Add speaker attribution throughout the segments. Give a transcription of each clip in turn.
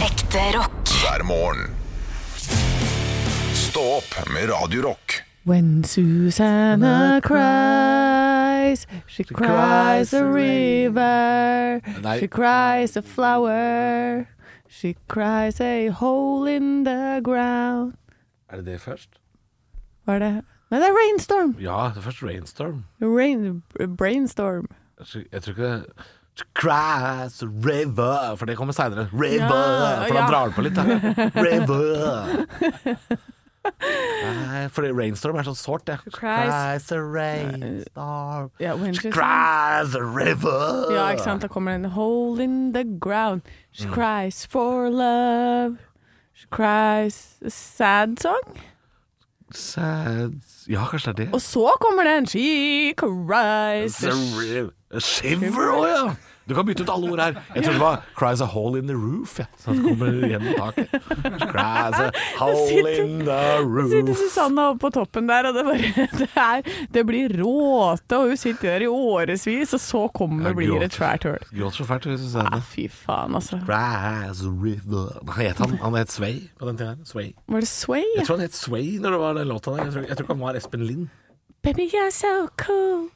Speaker 1: Ekte rock.
Speaker 2: hver morgen. Stå opp med Radio Rock.
Speaker 3: When Susanna cries, she cries a river,
Speaker 4: Nei.
Speaker 3: she cries a flower, she cries a hole in the ground.
Speaker 4: Er det det først?
Speaker 3: Hva er det? Nei, det er rainstorm!
Speaker 4: Ja, det er først Rainstorm.
Speaker 3: Rain, brainstorm.
Speaker 4: Jeg tror jeg tror ikke det To Crash, River For det kommer seinere. River!
Speaker 3: Ja,
Speaker 4: for da
Speaker 3: ja.
Speaker 4: drar den på litt. Da. River! Nei, fordi rainstorm er sånn sårt, det.
Speaker 3: Cries.
Speaker 4: Cries a rainstorm
Speaker 3: Ja, when she
Speaker 4: Cries a river
Speaker 3: Ja, ikke sant? Da kommer den hole in the ground. She cries for love. She cries a sad song.
Speaker 4: Sad Ja, kanskje det er
Speaker 3: Og
Speaker 4: det.
Speaker 3: så kommer den She cries
Speaker 4: It's a riv- a Shiver òg, ja! Du kan bytte ut alle ord her. Jeg trodde det var 'cries a hole in the roof'. Ja. Så det kommer gjennom taket. Cries a hole
Speaker 3: sitter-
Speaker 4: in the
Speaker 3: sitter
Speaker 4: roof.
Speaker 3: Susanne oppe på toppen der, og det, bare, det, er, det blir råte. Og hun sitter der i årevis, og så kommer
Speaker 4: Jeg
Speaker 3: blir det
Speaker 4: gråter.
Speaker 3: et svært hull.
Speaker 4: Gråter så fælt, hvis du
Speaker 3: Ja,
Speaker 4: ser det.
Speaker 3: fy faen, altså.
Speaker 4: Rise River Hva het han? Han het Sway på den tiden. her. Sway.
Speaker 3: Var det Sway?
Speaker 4: Jeg tror han het Sway når det var den låta der. Jeg tror, jeg tror ikke han var Espen Lind.
Speaker 3: Baby, you're so cool.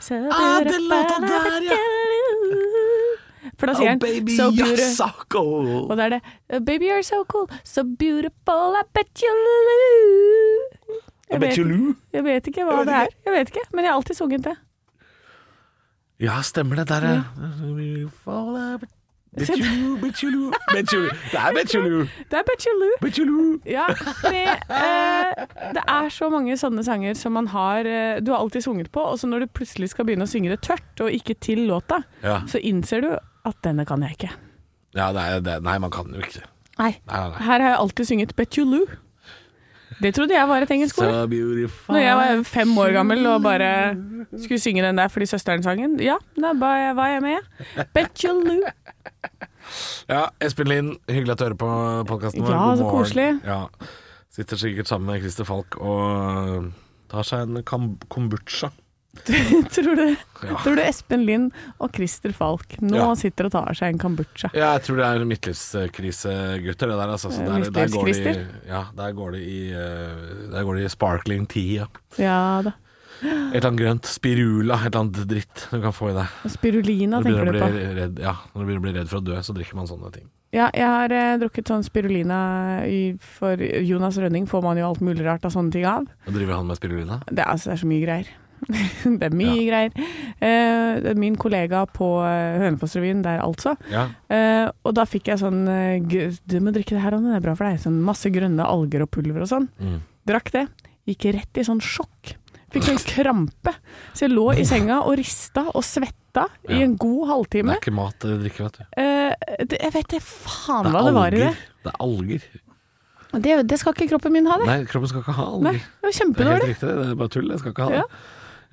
Speaker 3: So
Speaker 4: Ah,
Speaker 3: beautiful,
Speaker 4: den låta
Speaker 3: I
Speaker 4: der, ja. Oh,
Speaker 3: can lose. For da sier han so beautiful. Og det er det. «Uh, Baby, you're so cool. So beautiful, I bet you lose. Jeg vet, jeg vet ikke hva
Speaker 4: Jeg vet
Speaker 3: det er. Jeg vet ikke, men jeg har alltid sunget det.
Speaker 4: Ja, stemmer det. Der er Betjulu, betjulu, betjulu. Det er betjulu,
Speaker 3: Det er Bet You Lose.
Speaker 4: betjulu.
Speaker 3: Ja, fordi eh, det er så mange sånne sanger som man har eh, Du har alltid sunget på, og så når du plutselig skal begynne å synge det tørt, og ikke til låta,
Speaker 4: Ja.
Speaker 3: så innser du at denne kan jeg ikke.
Speaker 4: Ja, det er, det, nei, man kan jo ikke det.
Speaker 3: Nei.
Speaker 4: Nei, nei, nei.
Speaker 3: Her har jeg alltid sunget Bet You Lou. Det trodde jeg var et engelsk ord.
Speaker 4: beautiful.
Speaker 3: Når jeg var fem år gammel og bare skulle synge den der fordi søsteren sang den, ja, da var jeg- var jeg med. Bet You Lou.
Speaker 4: Ja, Espen Lind, hyggelig at du hører på podkasten vår.
Speaker 3: Ja,
Speaker 4: God
Speaker 3: så
Speaker 4: morgen.
Speaker 3: koselig.
Speaker 4: Ja. Sitter sikkert sammen med Christer Falk og øh, tar seg en kam- kombucha.
Speaker 3: Tror du,
Speaker 4: Ja.
Speaker 3: tror du Espen Lind og Christer Falk nå
Speaker 4: Ja.
Speaker 3: sitter og tar seg en kombucha?
Speaker 4: Ja, jeg tror det er midtlivskrise, gutter, det der. Altså. Så der, der, går de,
Speaker 3: Eh, Midtlivskrister?
Speaker 4: ja, der går de i eh, Der går de i sparkling tea. Ja.
Speaker 3: Ja da.
Speaker 4: Et eller annet grønt. Spirula, et eller annet dritt du kan få i deg.
Speaker 3: Spirulina
Speaker 4: Når du
Speaker 3: tenker du
Speaker 4: begynner å
Speaker 3: på.
Speaker 4: bli redd, ja, når du begynner å bli redd for å dø, så drikker man sånne ting.
Speaker 3: Ja, jeg har eh, drukket sånn spirulina i, for Jonas Rønning får man jo alt mulig rart av sånne ting av.
Speaker 4: Og driver han med spirulina?
Speaker 3: Det er, altså, det er så mye greier. det er mye greier. Eh, min kollega på eh, Hønefossrevyen der altså,
Speaker 4: Ja.
Speaker 3: eh, og da fikk jeg sånn eh, g- Du må drikke det her, Anne, det er bra for deg. Sånn masse grønne alger og pulver og sånn.
Speaker 4: Mm.
Speaker 3: Drakk det. Gikk rett i sånn sjokk. Fikk sånn krampe. Så jeg lå i senga og rista og svetta i
Speaker 4: Ja.
Speaker 3: en god
Speaker 4: Det
Speaker 3: halvtime.
Speaker 4: er ikke mat dere drikker, vet du.
Speaker 3: Eh, det, jeg vet det faen
Speaker 4: Det er
Speaker 3: hva det var i det.
Speaker 4: alger. Det er alger.
Speaker 3: Det, det skal ikke kroppen min ha, det.
Speaker 4: Nei, kroppen skal ikke ha
Speaker 3: Ah, Nei,
Speaker 4: alger.
Speaker 3: det var
Speaker 4: Det er helt
Speaker 3: kjempedårlig.
Speaker 4: riktig, det er bare tull. Jeg skal ikke ha det.
Speaker 3: Ja.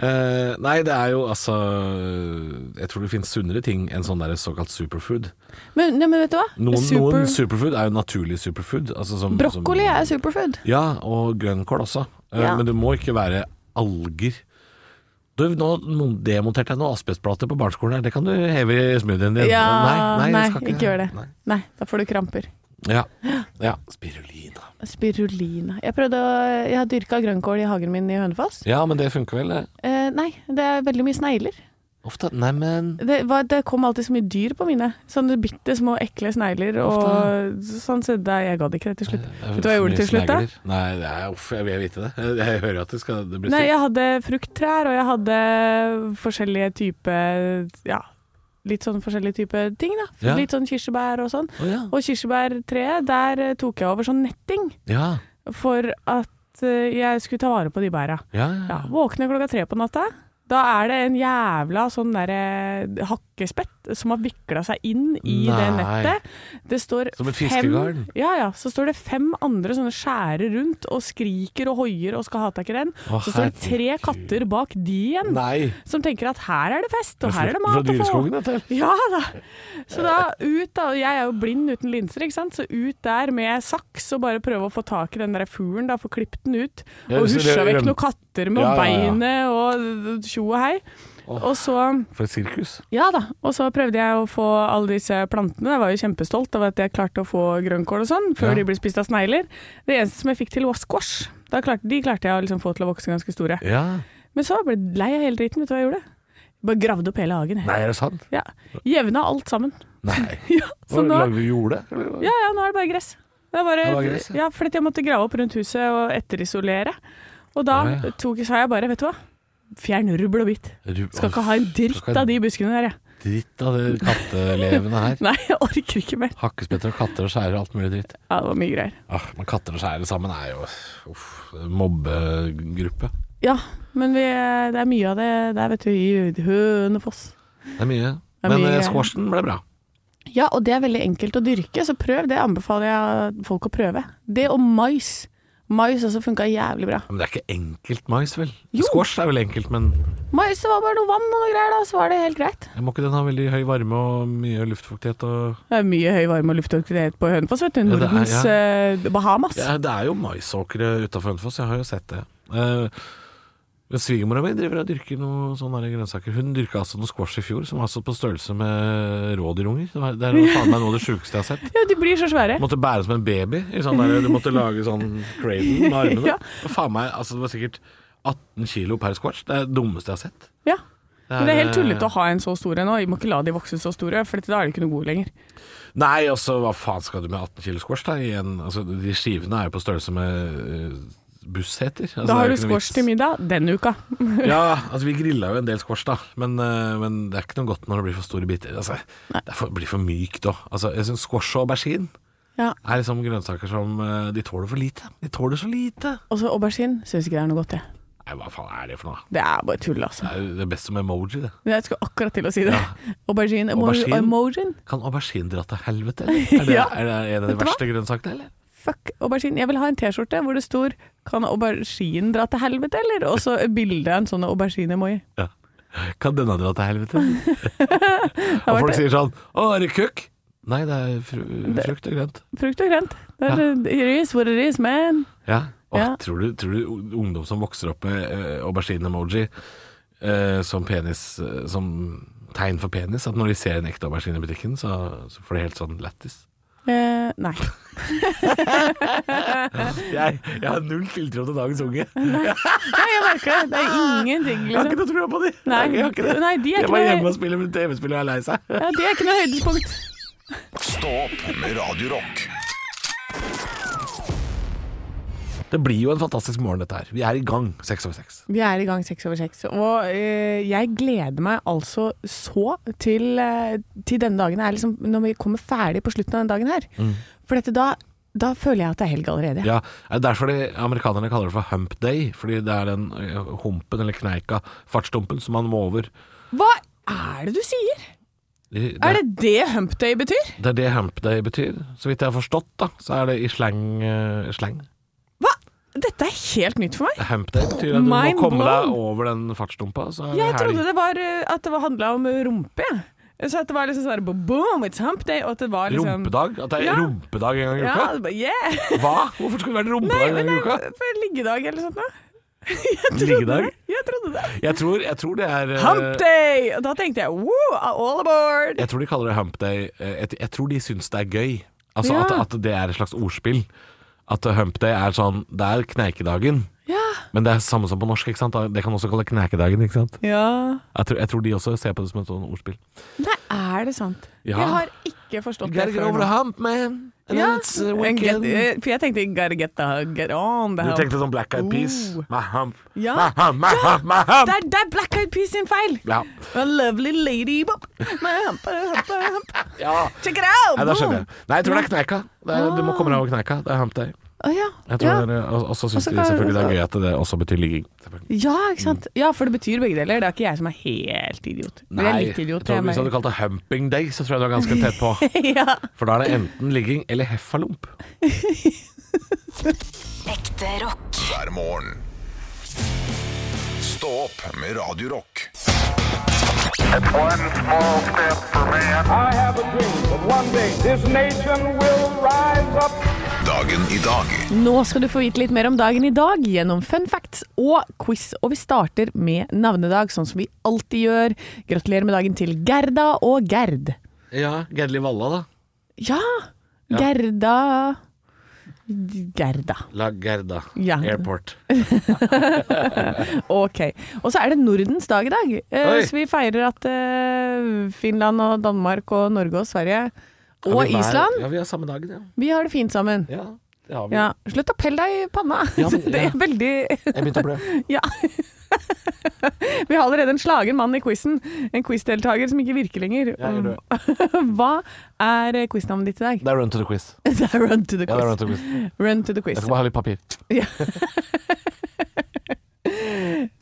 Speaker 4: Eh, nei, det er jo altså Jeg tror det finnes sunnere ting enn sånn der såkalt superfood.
Speaker 3: Men, nei, men vet du hva?
Speaker 4: Noen,
Speaker 3: Super-
Speaker 4: noen superfood er jo naturlig superfood. Altså som,
Speaker 3: Brokkoli
Speaker 4: som,
Speaker 3: er superfood.
Speaker 4: Ja, og grønnkål også. Eh,
Speaker 3: Ja.
Speaker 4: Men det må ikke være alger. Du, nå mon- demonterte jeg noen asbestplater på barneskolen her. Det kan du heve i smoothien din.
Speaker 3: Ja,
Speaker 4: nei,
Speaker 3: nei,
Speaker 4: jeg skal
Speaker 3: ikke gjør det.
Speaker 4: Nei.
Speaker 3: Nei, da får du kramper.
Speaker 4: Ja. ja. Spirulina.
Speaker 3: Spirulina. Jeg prøvde å Jeg har dyrka grønnkål i hagen min i Hønefoss.
Speaker 4: Ja, men det funker vel? det.
Speaker 3: Eh, nei, det er veldig mye snegler.
Speaker 4: Ofte. Neimen
Speaker 3: Det, var, det kom alltid så mye dyr på mine. Sånne bitte små ekle snegler og sånn. Så det, jeg gadd ikke det til slutt.
Speaker 4: Eh,
Speaker 3: Vet du hva jeg gjorde til slutt, da?
Speaker 4: Nei, det er, uff, jeg vil vite det. Jeg hører jo at det skal det blir
Speaker 3: Nei,
Speaker 4: styrt.
Speaker 3: jeg hadde frukttrær, og jeg hadde forskjellige typer Ja, litt sånn forskjellige typer ting, da.
Speaker 4: Ja.
Speaker 3: Litt sånn kirsebær og sånn.
Speaker 4: Å, ja.
Speaker 3: Og kirsebærtreet, der eh, tok jeg over sånn netting
Speaker 4: Ja,
Speaker 3: for at eh, jeg skulle ta vare på de bæra.
Speaker 4: ja, ja.
Speaker 3: Ja, våkner klokka tre på natta. Da er det en jævla sånn derre hakkespett som har vikla seg inn i det
Speaker 4: Nei.
Speaker 3: nettet. Det står
Speaker 4: Som et
Speaker 3: fem-
Speaker 4: fiskegarn?
Speaker 3: Ja, ja. Så står det fem andre sånne skjærer rundt og skriker og hoier og skal ha tak i den.
Speaker 4: Å,
Speaker 3: Så står det tre
Speaker 4: herregud.
Speaker 3: katter bak de igjen,
Speaker 4: Nei.
Speaker 3: som tenker at her er det fest, og her er det
Speaker 4: Fra
Speaker 3: mat å få.
Speaker 4: dyreskogen, dette.
Speaker 3: Ja da. Så da ut da, og jeg er jo blind uten linser, ikke sant. Så ut der med saks og bare prøve å få tak i den der fuglen, da, få klippet den ut.
Speaker 4: Ja,
Speaker 3: Og
Speaker 4: så det-
Speaker 3: husja vekk
Speaker 4: røm-
Speaker 3: noen katter med
Speaker 4: Ja, ja, ja.
Speaker 3: beinet og tjo og hei. Og så
Speaker 4: For et sirkus.
Speaker 3: Ja da, og så prøvde jeg å få alle disse plantene. Jeg var jo kjempestolt av at jeg klarte å få grønnkål og sånn, før
Speaker 4: Ja.
Speaker 3: de ble spist av snegler. Det eneste som jeg fikk til var squash. Da klarte, de klarte jeg å liksom få til å vokse ganske store.
Speaker 4: Ja.
Speaker 3: Men så ble jeg lei av hele driten, vet du hva jeg gjorde? Jeg bare gravde opp hele hagen. jeg.
Speaker 4: Nei, er det sant?
Speaker 3: Ja. Jevna alt sammen.
Speaker 4: Nei.
Speaker 3: Ja, så nå,
Speaker 4: Lager vi jorde? eller?
Speaker 3: ja, ja, nå er det bare gress. Det er bare,
Speaker 4: Det er bare gress, ja.
Speaker 3: ja, fordi at jeg måtte grave opp rundt huset og etterisolere. Og da
Speaker 4: Ja, ja.
Speaker 3: tok, sa jeg bare, vet du hva, fjern rubbel og bit.
Speaker 4: Du-
Speaker 3: Skal ikke ha en dritt
Speaker 4: Skal ikke ha
Speaker 3: av de buskene der, jeg.
Speaker 4: Dritt av det kattelevene her.
Speaker 3: Nei, jeg orker ikke mer.
Speaker 4: Hakkespetter og katter og skjærer og alt mulig dritt.
Speaker 3: Ja, det var mye greier.
Speaker 4: Ah, men katter og skjærer sammen er jo uff, mobbegruppe.
Speaker 3: Ja, men vi, det er mye av det der, vet du, i Hønefoss.
Speaker 4: Det er mye.
Speaker 3: Det er
Speaker 4: men
Speaker 3: mye
Speaker 4: eh,
Speaker 3: greier.
Speaker 4: squashen ble bra.
Speaker 3: Ja, og det er veldig enkelt å dyrke, så prøv. Det anbefaler jeg folk å prøve. Det og mais. Mais også funka jævlig bra.
Speaker 4: Men det er ikke enkelt mais, vel?
Speaker 3: Jo.
Speaker 4: Squash er vel enkelt, men
Speaker 3: Mais, det var bare noe vann og noe greier, da, så var det helt greit.
Speaker 4: må ikke den ha veldig høy varme og mye luftfuktighet og
Speaker 3: Det er mye høy varme og luftoktivitet på Hønefoss, vet du.
Speaker 4: Ja, det er,
Speaker 3: Nordens
Speaker 4: ja.
Speaker 3: eh, Bahamas.
Speaker 4: ja, Det er jo maisåkre utafor Hønefoss, jeg har jo sett det. Eh, men Svigermora mi driver og dyrker noe sånne her grønnsaker. Hun dyrka altså noe squash i fjor som var altså på størrelse med rådyrunger. Det var- Det er jo faen meg noe av det sjukeste jeg har sett.
Speaker 3: Ja, de blir så svære.
Speaker 4: Måtte bære som en baby. I sånn der, du måtte lage sånn cradle med armene.
Speaker 3: Ja.
Speaker 4: Og Faen meg, altså, det var sikkert 18 kilo per squash. Det er det dummeste jeg har sett.
Speaker 3: Ja. Men det er helt
Speaker 4: eh,
Speaker 3: tullete å ha en så stor en nå. Vi må ikke la de vokse så store, for da er de ikke noe gode lenger.
Speaker 4: Nei, altså, hva faen skal du med 18 kilo squash? Da? I en, altså, de skivene er jo på størrelse med eh, busseter. Altså,
Speaker 3: Da har du
Speaker 4: det er jo ikke noe
Speaker 3: squash
Speaker 4: vits.
Speaker 3: til middag denne uka.
Speaker 4: Ja, altså, vi grilla jo en del squash, da. Men, eh, men det er ikke noe godt når det blir for store biter. Altså, det er for, blir for mykt òg. Altså, jeg synes squash og aubergine
Speaker 3: Ja.
Speaker 4: er liksom grønnsaker som eh, De tåler for lite. De tåler så lite.
Speaker 3: Og så aubergine. Syns ikke det er noe godt, jeg.
Speaker 4: Nei, hva faen er det for noe? da?
Speaker 3: Det er bare tull, altså.
Speaker 4: Det er jo det beste som emoji, det.
Speaker 3: Men Jeg skulle akkurat til å si det. Aubergine. emo-
Speaker 4: Aubergine?
Speaker 3: Emojin.
Speaker 4: Kan aubergine dra til helvete? eller? Er det,
Speaker 3: Ja.
Speaker 4: er det en av
Speaker 3: Vet du
Speaker 4: de
Speaker 3: hva?
Speaker 4: verste grønnsakene, eller?
Speaker 3: Fuck aubergine. Jeg vil ha en T-skjorte hvor det står 'Kan aubergine dra til helvete', eller? Og så et bilde av en sånn aubergine-moi.
Speaker 4: Ja. Kan denne dra til helvete?
Speaker 3: Det
Speaker 4: Og
Speaker 3: har
Speaker 4: folk
Speaker 3: vært
Speaker 4: sier sånn Å, er det kukk? Nei, det er fru, frukt og grønt.
Speaker 3: frukt og grønt. Det er it is what it is, man.
Speaker 4: Ja. Og
Speaker 3: Ja.
Speaker 4: Tror, du, tror du ungdom som vokser opp med eh, aubergine-emoji eh, som penis eh, Som tegn for penis, at når de ser en ekte aubergine i butikken, så, så får de helt sånn lættis.
Speaker 3: Eh, nei.
Speaker 4: Jeg, jeg har null tiltro til dagens unge. Jeg
Speaker 3: nei, jeg merker det. Det er ingenting,
Speaker 4: har ikke
Speaker 3: liksom.
Speaker 4: noe trua på de.
Speaker 3: Nei.
Speaker 4: jeg har ikke det.
Speaker 3: Nei, de er
Speaker 4: jeg
Speaker 3: ikke
Speaker 4: var
Speaker 3: noe-
Speaker 4: hjemme og spiller med TV-spill og er lei seg.
Speaker 3: Ja, det er ikke noe høydepunkt.
Speaker 2: Stå opp med Radio Rock.
Speaker 4: Det blir jo en fantastisk morgen dette her. Vi er i gang seks over seks.
Speaker 3: Vi er i gang seks over seks, og eh, jeg gleder meg altså så til, eh, til denne dagen her, liksom, når vi kommer ferdig på slutten av denne dagen her. For dette, da, da føler jeg at det er helg allerede.
Speaker 4: Mm. Ja, er det derfor de amerikanerne kaller det for hump day? Fordi det er den ø, humpen eller kneika, fartsdumpen, som man må over.
Speaker 3: Hva er det du sier?
Speaker 4: I-
Speaker 3: Er det det hump day betyr?
Speaker 4: det er det hump day betyr. Så vidt jeg har forstått, da, så er det i eh, slang. ø, slang.
Speaker 3: Hva? Dette er helt nytt for meg.
Speaker 4: Hump day betyr at du må
Speaker 3: Mind
Speaker 4: komme deg
Speaker 3: blown.
Speaker 4: over den fartsdumpa, så er det
Speaker 3: Jeg
Speaker 4: helg.
Speaker 3: trodde det var eh, at det handla om rumpe, jeg. Så at det var liksom sånn bo- boom, it's hump day, og at det var liksom
Speaker 4: Rumpedag? At det er
Speaker 3: Ja.
Speaker 4: rumpedag en gang i
Speaker 3: Ja,
Speaker 4: uka?
Speaker 3: det bare, yeah!
Speaker 4: Hva? Hvorfor skulle det vært
Speaker 3: Nei,
Speaker 4: rumpedag en
Speaker 3: men
Speaker 4: gang
Speaker 3: det
Speaker 4: i uka?
Speaker 3: er for liggedag eller sånt noe. Jeg trodde
Speaker 4: Liggedag?
Speaker 3: det. Jeg trodde det.
Speaker 4: Jeg tror, jeg tror det er eh, ø,
Speaker 3: Hump day! Og da tenkte jeg wow, all aboard!
Speaker 4: Jeg tror de kaller det hump day eh, Jeg, jeg tror de syns det er gøy. Altså
Speaker 3: Ja.
Speaker 4: at, at det er et slags ordspill. At hump day er sånn Det er kneikedagen,
Speaker 3: Ja.
Speaker 4: men det er samme som på norsk. ikke sant? Det kan også kalle knekedagen. ikke sant? Jeg tror, jeg tror de også ser på det som et sånn ordspill.
Speaker 3: Nei, er det sant?
Speaker 4: Ja.
Speaker 3: Jeg har ikke forstått det før. nå.
Speaker 4: hump, man.
Speaker 3: Ja.
Speaker 4: uh,
Speaker 3: And get, eh, for jeg tenkte gotta get, the, get on the
Speaker 4: Du
Speaker 3: hump.
Speaker 4: tenkte Ah. sånn Black Eyed Peas.
Speaker 3: Oh.
Speaker 4: My hump,
Speaker 3: Ja.
Speaker 4: my hump, my hump, my hump.
Speaker 3: Det er, det er Black Eyed Peas sin feil!
Speaker 4: Ja.
Speaker 3: A lovely lady bop. My hump, uh, hump, uh, hump.
Speaker 4: ja.
Speaker 3: Check it out!
Speaker 4: Nei, da
Speaker 3: boom.
Speaker 4: skjønner jeg. Nei, jeg tror det er kneika. Det er, du må komme deg over kneika. Det er hump day.
Speaker 3: Å, ja.
Speaker 4: Jeg tror
Speaker 3: Ja.
Speaker 4: det er- Og og så syns
Speaker 3: så
Speaker 4: de
Speaker 3: kan-
Speaker 4: selvfølgelig det er gøy at det også betyr ligging. Selvfølgelig.
Speaker 3: ja, ikke sant.
Speaker 4: Mm.
Speaker 3: Ja, for det betyr begge deler. Det er ikke jeg som er helt idiot. Eller jeg er litt
Speaker 4: jeg
Speaker 3: idiot.
Speaker 4: tror,
Speaker 3: jeg
Speaker 4: hvis du
Speaker 3: er
Speaker 4: hadde kalt det humping day, så tror jeg du var ganske tett på.
Speaker 3: mer- ja.
Speaker 4: For da er det enten ligging eller heffalump.
Speaker 1: Ekte rock.
Speaker 2: hver morgen. Stå opp med Radio Rock.
Speaker 5: It's one small step for man.
Speaker 6: I have a dream that one day this nation will rise up
Speaker 2: Dagen i dag.
Speaker 3: Nå skal du få vite litt mer om dagen i dag gjennom fun facts og quiz. Og vi starter med navnedag, sånn som vi alltid gjør. Gratulerer med dagen til Gerda og Gerd.
Speaker 4: Ja, Gerli Valla, da.
Speaker 3: Ja! Gerda Gerda.
Speaker 4: La Gerda
Speaker 3: Ja.
Speaker 4: Airport.
Speaker 3: Ok. Og så er det Nordens dag i dag. Eh,
Speaker 4: Oi.
Speaker 3: Så vi feirer at eh, Finland og Danmark og Norge og Sverige og
Speaker 4: Har vi hver-
Speaker 3: Island,
Speaker 4: Ja, vi har samme dagen, ja.
Speaker 3: vi har det fint sammen.
Speaker 4: Ja, det har vi.
Speaker 3: Ja. Slutt å pelle deg i panna!
Speaker 4: Ja, men-
Speaker 3: Det
Speaker 4: ja.
Speaker 3: er veldig
Speaker 4: Jeg begynte å blø.
Speaker 3: Ja. Vi har allerede en slagen mann i quizen. En quizdeltaker som ikke virker lenger. Um,
Speaker 4: Jeg gjør det.
Speaker 3: Hva er quiznavnet ditt i dag?
Speaker 4: Det er run to the quiz.
Speaker 3: Det er Run to the
Speaker 4: Ja, det er
Speaker 3: quiz.
Speaker 4: run to the quiz.
Speaker 3: Run to the quiz.
Speaker 4: Jeg skal bare ha litt papir.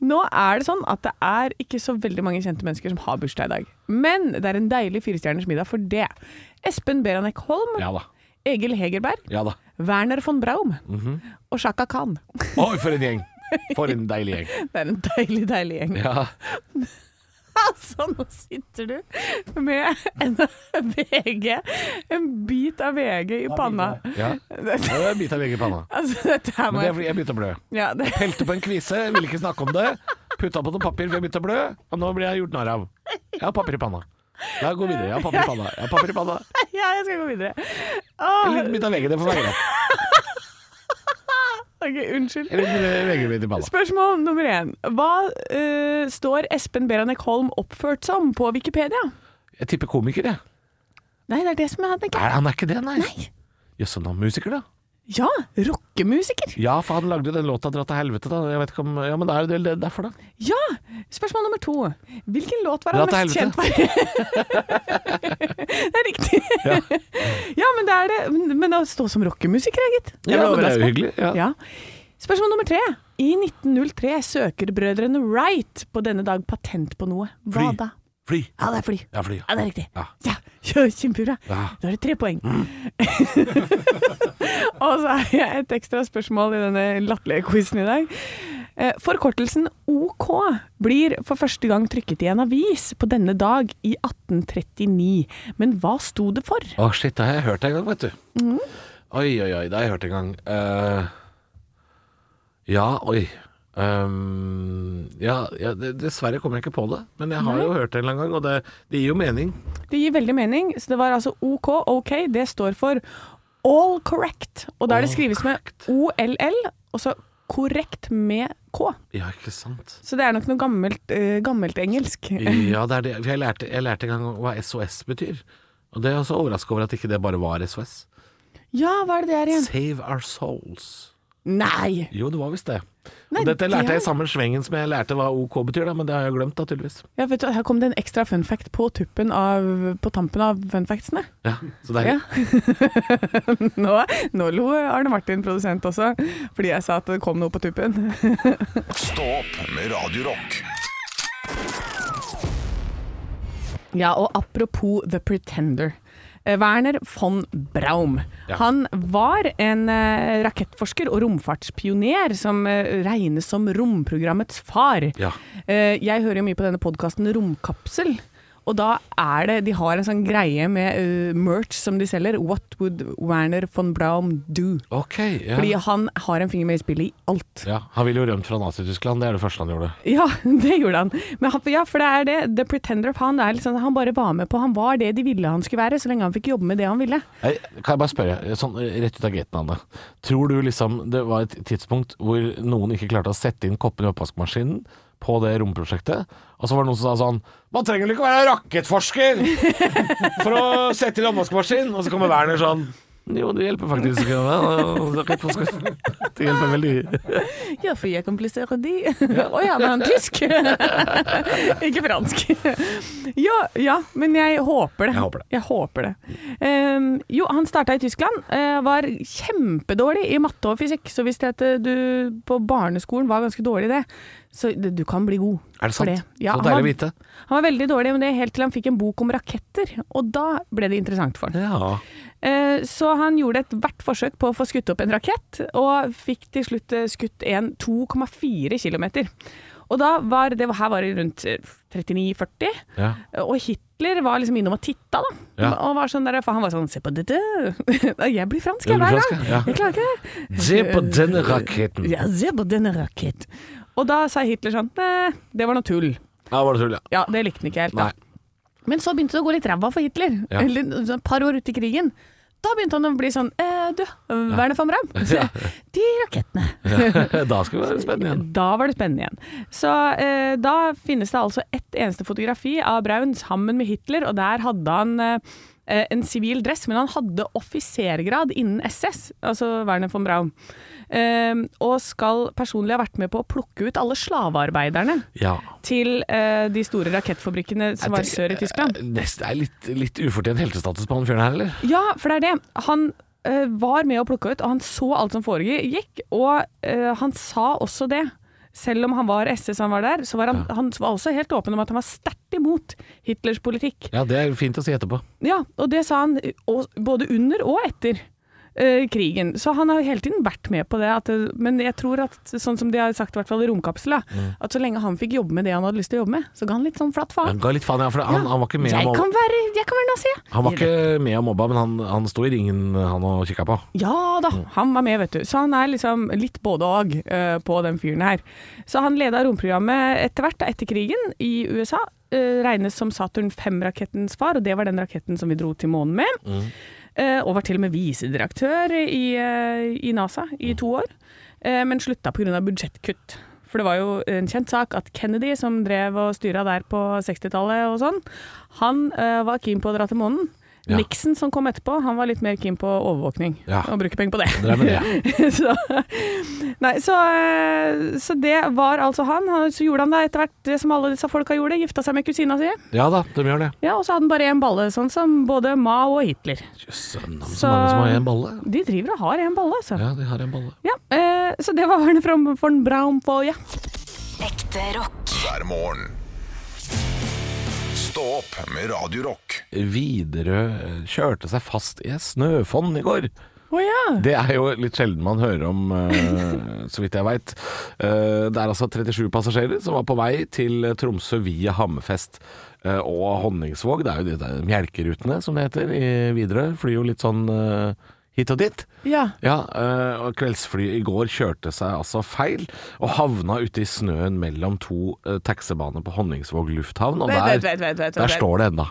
Speaker 3: Nå er det sånn at det er ikke så veldig mange kjente mennesker som har bursdag i dag. Men det er en deilig firestjerners middag for det. Espen Beranek Holm,
Speaker 4: Ja da.
Speaker 3: Egil Hegerberg,
Speaker 4: Ja da.
Speaker 3: Werner von Braum
Speaker 4: Mhm.
Speaker 3: og Shaka Khan.
Speaker 4: Oi, for en gjeng! For en deilig gjeng.
Speaker 3: Det er en deilig, deilig gjeng.
Speaker 4: Ja.
Speaker 3: Altså, nå sitter du med en VG, en bit av VG i panna.
Speaker 4: ja.
Speaker 3: Det-
Speaker 4: Ja, det er en bit av begge panna.
Speaker 3: Altså, dette her må
Speaker 4: Men det er
Speaker 3: jeg
Speaker 4: fordi jeg begynte å blø.
Speaker 3: ja, det,
Speaker 4: Helte på en kvise, ville ikke snakke om det. Putta på noe papir, for jeg begynte å blø. Og nå blir jeg gjort narr av. Jeg har papir i panna. La gå videre. Jeg har papir i panna. Jeg har papir i panna.
Speaker 3: ja, jeg skal gå videre.
Speaker 4: Eller en bit av veggen, det får være greit.
Speaker 3: Ok, unnskyld.
Speaker 4: Eller en veggebit i panna.
Speaker 3: Spørsmål nummer én. Hva eh, står Espen Beranek Holm oppført som på Wikipedia?
Speaker 4: Jeg tipper komiker, jeg.
Speaker 3: Nei, det er det som er ikke.
Speaker 4: Er, han er ikke det, nei. Jøss, han er musiker, da.
Speaker 3: Ja, rockemusiker.
Speaker 4: Ja, for han lagde jo den låta 'Dra til helvete', da. Jeg vet ikke om Ja, men det er jo det- derfor, da.
Speaker 3: Ja! Spørsmål nummer to. Hvilken låt var
Speaker 4: Dra
Speaker 3: han
Speaker 4: til
Speaker 3: mest kjent for? det er riktig. Ja. men det er det. Men- Men å stå som rockemusiker, ja, gitt. Jeg
Speaker 4: Ja,
Speaker 3: ble
Speaker 4: men det er jo
Speaker 3: overrasket.
Speaker 4: hyggelig. Ja.
Speaker 3: Ja. Spørsmål nummer tre. I 1903 søker brødrene Wright på denne dag patent på noe. Hva
Speaker 4: Fly.
Speaker 3: da?
Speaker 4: Fly.
Speaker 3: Ja, det er fly.
Speaker 4: Ja, fly.
Speaker 3: Ja, det er riktig.
Speaker 4: Ja.
Speaker 3: Ja, ja Kjempebra.
Speaker 4: Ja. Mm.
Speaker 3: Da er det tre poeng. Og så har jeg et ekstra spørsmål i denne latterlige quizen i dag. Eh, Forkortelsen OK blir for første gang trykket i en avis på denne dag i 1839. Men hva sto det for?
Speaker 4: Å, shit, det har jeg hørt en gang, vet du.
Speaker 3: Mm.
Speaker 4: Oi, oi, oi, det har jeg hørt en gang. Eh, ja, oi. Um, ja, ja, det- dessverre kommer jeg ikke på det, men jeg har jo hørt det en eller annen gang, og det, det gir jo mening.
Speaker 3: Det gir veldig mening, så det var altså OK, OK, det står for All Correct. Og da er det
Speaker 4: All
Speaker 3: skrives med
Speaker 4: correct.
Speaker 3: OLL, og så korrekt med K.
Speaker 4: Ja, ikke sant?
Speaker 3: Så det er nok noe gammelt, eh, gammelt engelsk.
Speaker 4: Ja, det er det. For Jeg lærte, jeg lærte en gang hva SOS betyr, og det er jeg også overraska over at ikke det bare var SOS.
Speaker 3: Ja, hva er det det er igjen?
Speaker 4: Save our souls.
Speaker 3: Nei!
Speaker 4: Jo, det var visst det.
Speaker 3: Nei,
Speaker 4: Og dette
Speaker 3: det
Speaker 4: lærte jeg
Speaker 3: er-
Speaker 4: i samme svengen som jeg lærte hva OK betyr, da, men det har jeg glemt, da, tydeligvis.
Speaker 3: Ja, vet du, her kom det en ekstra fun fact på, tuppen av, på tampen av fun factsene.
Speaker 4: Ja, så det er
Speaker 3: Ja. Nå, nå lo Arne Martin, produsent, også, fordi jeg sa at det kom noe på tuppen.
Speaker 2: Stå opp med Radio Rock.
Speaker 3: Ja, og apropos The Pretender. Eh, Werner von Braum.
Speaker 4: Ja.
Speaker 3: Han var en eh, rakettforsker og romfartspioner som eh, regnes som romprogrammets far.
Speaker 4: Ja.
Speaker 3: Eh, jeg hører jo mye på denne podkasten Romkapsel. Og da er det De har en sånn greie med eh, merch som de selger. What would Werner von Braum do?
Speaker 4: OK. Ja.
Speaker 3: Fordi han har en finger med i spillet i alt.
Speaker 4: Ja, Han ville jo rømt fra Nazi-Tyskland, det er det første han gjorde.
Speaker 3: Ja, det gjorde han. Men han ja, for det er det. The Pretender han, er litt sånn, han bare var med på Han var det de ville han skulle være, så lenge han fikk jobbe med det han ville.
Speaker 4: Nei, kan jeg bare spørre, sånn rett ut av gaten, Anne. Tror du liksom det var et tidspunkt hvor noen ikke klarte å sette inn koppen i oppvaskmaskinen på det romprosjektet, og så var det noen som sa sånn Man trenger vel ikke være rakettforsker for å sette inn oppvaskmaskin? Og så kommer Werner sånn Jo, det hjelper faktisk. ikke, da. Rakettforsker. Det hjelper veldig.
Speaker 3: Ja, for jeg kompliserer de. Å ja. men han er tysk. Ikke fransk. ja, ja, men jeg håper det.
Speaker 4: Jeg håper det.
Speaker 3: Jeg håper det. Ehm, jo, han starta i Tyskland. eh, var kjempedårlig i matte og fysikk, så hvis det at eh, du på barneskolen var ganske dårlig i det, så det- du kan bli god.
Speaker 4: Er det
Speaker 3: for
Speaker 4: sant?
Speaker 3: Ja, han
Speaker 4: så
Speaker 3: var-
Speaker 4: deilig å vite.
Speaker 3: Han var veldig dårlig med det helt til han fikk en bok om raketter, og da ble det interessant for han.
Speaker 4: Ja.
Speaker 3: Eh, Så han gjorde ethvert forsøk på å få skutt opp en rakett, og fikk til slutt eh, skutt en 2,4 km. Og da var det her var det rundt 39-40,
Speaker 4: Ja.
Speaker 3: og Hitler var liksom innom og titta, da.
Speaker 4: Ja.
Speaker 3: Og var sånn der, for han var sånn 'se på dette'. Jeg blir fransk,
Speaker 4: Jeg
Speaker 3: jeg,
Speaker 4: blir
Speaker 3: hver
Speaker 4: fransk,
Speaker 3: gang.
Speaker 4: ja.
Speaker 3: Jeg klarer ikke det.
Speaker 4: Se på denne raketten.
Speaker 3: Ja, se på denne rakett. Og da sa Hitler sånn «Nei, det var noe tull.
Speaker 4: Ja, var det tull, ja.
Speaker 3: Ja, det likte han ikke helt. Da.
Speaker 4: Nei.
Speaker 3: Men så begynte det å gå litt ræva for Hitler,
Speaker 4: Ja.
Speaker 3: eller sånn et par år ute i krigen. Da begynte han å bli sånn eh, Du, Werner von Braun,
Speaker 4: Ja.
Speaker 3: de rakettene.
Speaker 4: Da skal vi være spennende igjen.
Speaker 3: Da var det spennende igjen. Så eh, da finnes det altså ett eneste fotografi av Braun sammen med Hitler, og der hadde han eh, eh, en sivil dress, men han hadde offisergrad innen SS, altså Werner von Braun. Eh, og skal personlig ha vært med på å plukke ut alle slavearbeiderne
Speaker 4: Ja.
Speaker 3: til eh, de store rakettfabrikkene som var sør i Tyskland.
Speaker 4: Nesten eh, er litt, litt ufortjent heltestatus på han fyren her, eller?
Speaker 3: Ja, for det er det. Han eh, var med og plukka ut, og han så alt som foregikk. Og eh, han sa også det. Selv om han var SS han var der, så var han, han var også helt åpen om at han var sterkt imot Hitlers politikk.
Speaker 4: Ja, det er fint å si etterpå.
Speaker 3: Ja, og det sa han eh, og, både under og etter. eh, krigen, Så han har hele tiden vært med på det, at, eh, men jeg tror at sånn som de har sagt i hvert fall i Romkapsel, da,
Speaker 4: Mm.
Speaker 3: at så lenge han fikk jobbe med det han hadde lyst til å jobbe med, så ga han litt sånn flatt faen.
Speaker 4: Han ga litt faen, ja, for han, han var ikke med
Speaker 3: jeg,
Speaker 4: og mobba.
Speaker 3: kan være, jeg kan være nazi, jeg.
Speaker 4: Han var ikke med og mobba, men han, han sto i ringen han og kikka på.
Speaker 3: Ja da, han var med, vet du. Så han er liksom litt både og eh, på den fyren her. Så han leda romprogrammet etter hvert, da, etter krigen, i USA. eh, regnes som Saturn 5-rakettens far, og det var den raketten som vi dro til månen med. Eh, og var til og med visedirektør i, eh, i NASA i to år, eh, men slutta pga. budsjettkutt. For det var jo en kjent sak at Kennedy, som drev og styra der på 60-tallet og sånn, han eh, var keen på å dra til månen.
Speaker 4: Ja.
Speaker 3: Nixon som kom etterpå, han var litt mer keen på overvåkning
Speaker 4: Ja.
Speaker 3: og bruke penger på det.
Speaker 4: Drev med det.
Speaker 3: så, nei, så, eh, så det var altså han. Han- Så gjorde han da etter hvert det som alle disse folka gjorde, gifta seg med kusina si.
Speaker 4: Ja da, de gjør det.
Speaker 3: Ja, og så hadde han bare én balle, sånn som både Mao og Hitler.
Speaker 4: Jøss, navn
Speaker 3: Så-
Speaker 4: så mange som har en balle.
Speaker 3: De driver og har én balle, altså. Ja.
Speaker 4: Ja, de har en balle.
Speaker 3: eh, så det var Werner von- von Braun på ja.
Speaker 1: Ekte rock.
Speaker 2: hver morgen. Stå opp med Radio Rock.
Speaker 4: Widerøe eh, kjørte seg fast i et snøfonn i går.
Speaker 3: Å ja.
Speaker 4: Det er jo litt sjelden man hører om, eh, så vidt jeg veit. det er altså 37 passasjerer som var på vei til Tromsø via Hammerfest eh, og Honningsvåg. Det er jo de der melkerutene, som det heter, i Widerøe. Flyr jo litt sånn eh, hit og dit.
Speaker 3: Ja.
Speaker 4: Ja, eh, og kveldsflyet i går kjørte seg altså feil, og havna ute i snøen mellom to eh, taxibaner på Honningsvåg lufthavn. Og
Speaker 3: Vent,
Speaker 4: der,
Speaker 3: vent, vent, vent, vent,
Speaker 4: der
Speaker 3: vent.
Speaker 4: står det ennå.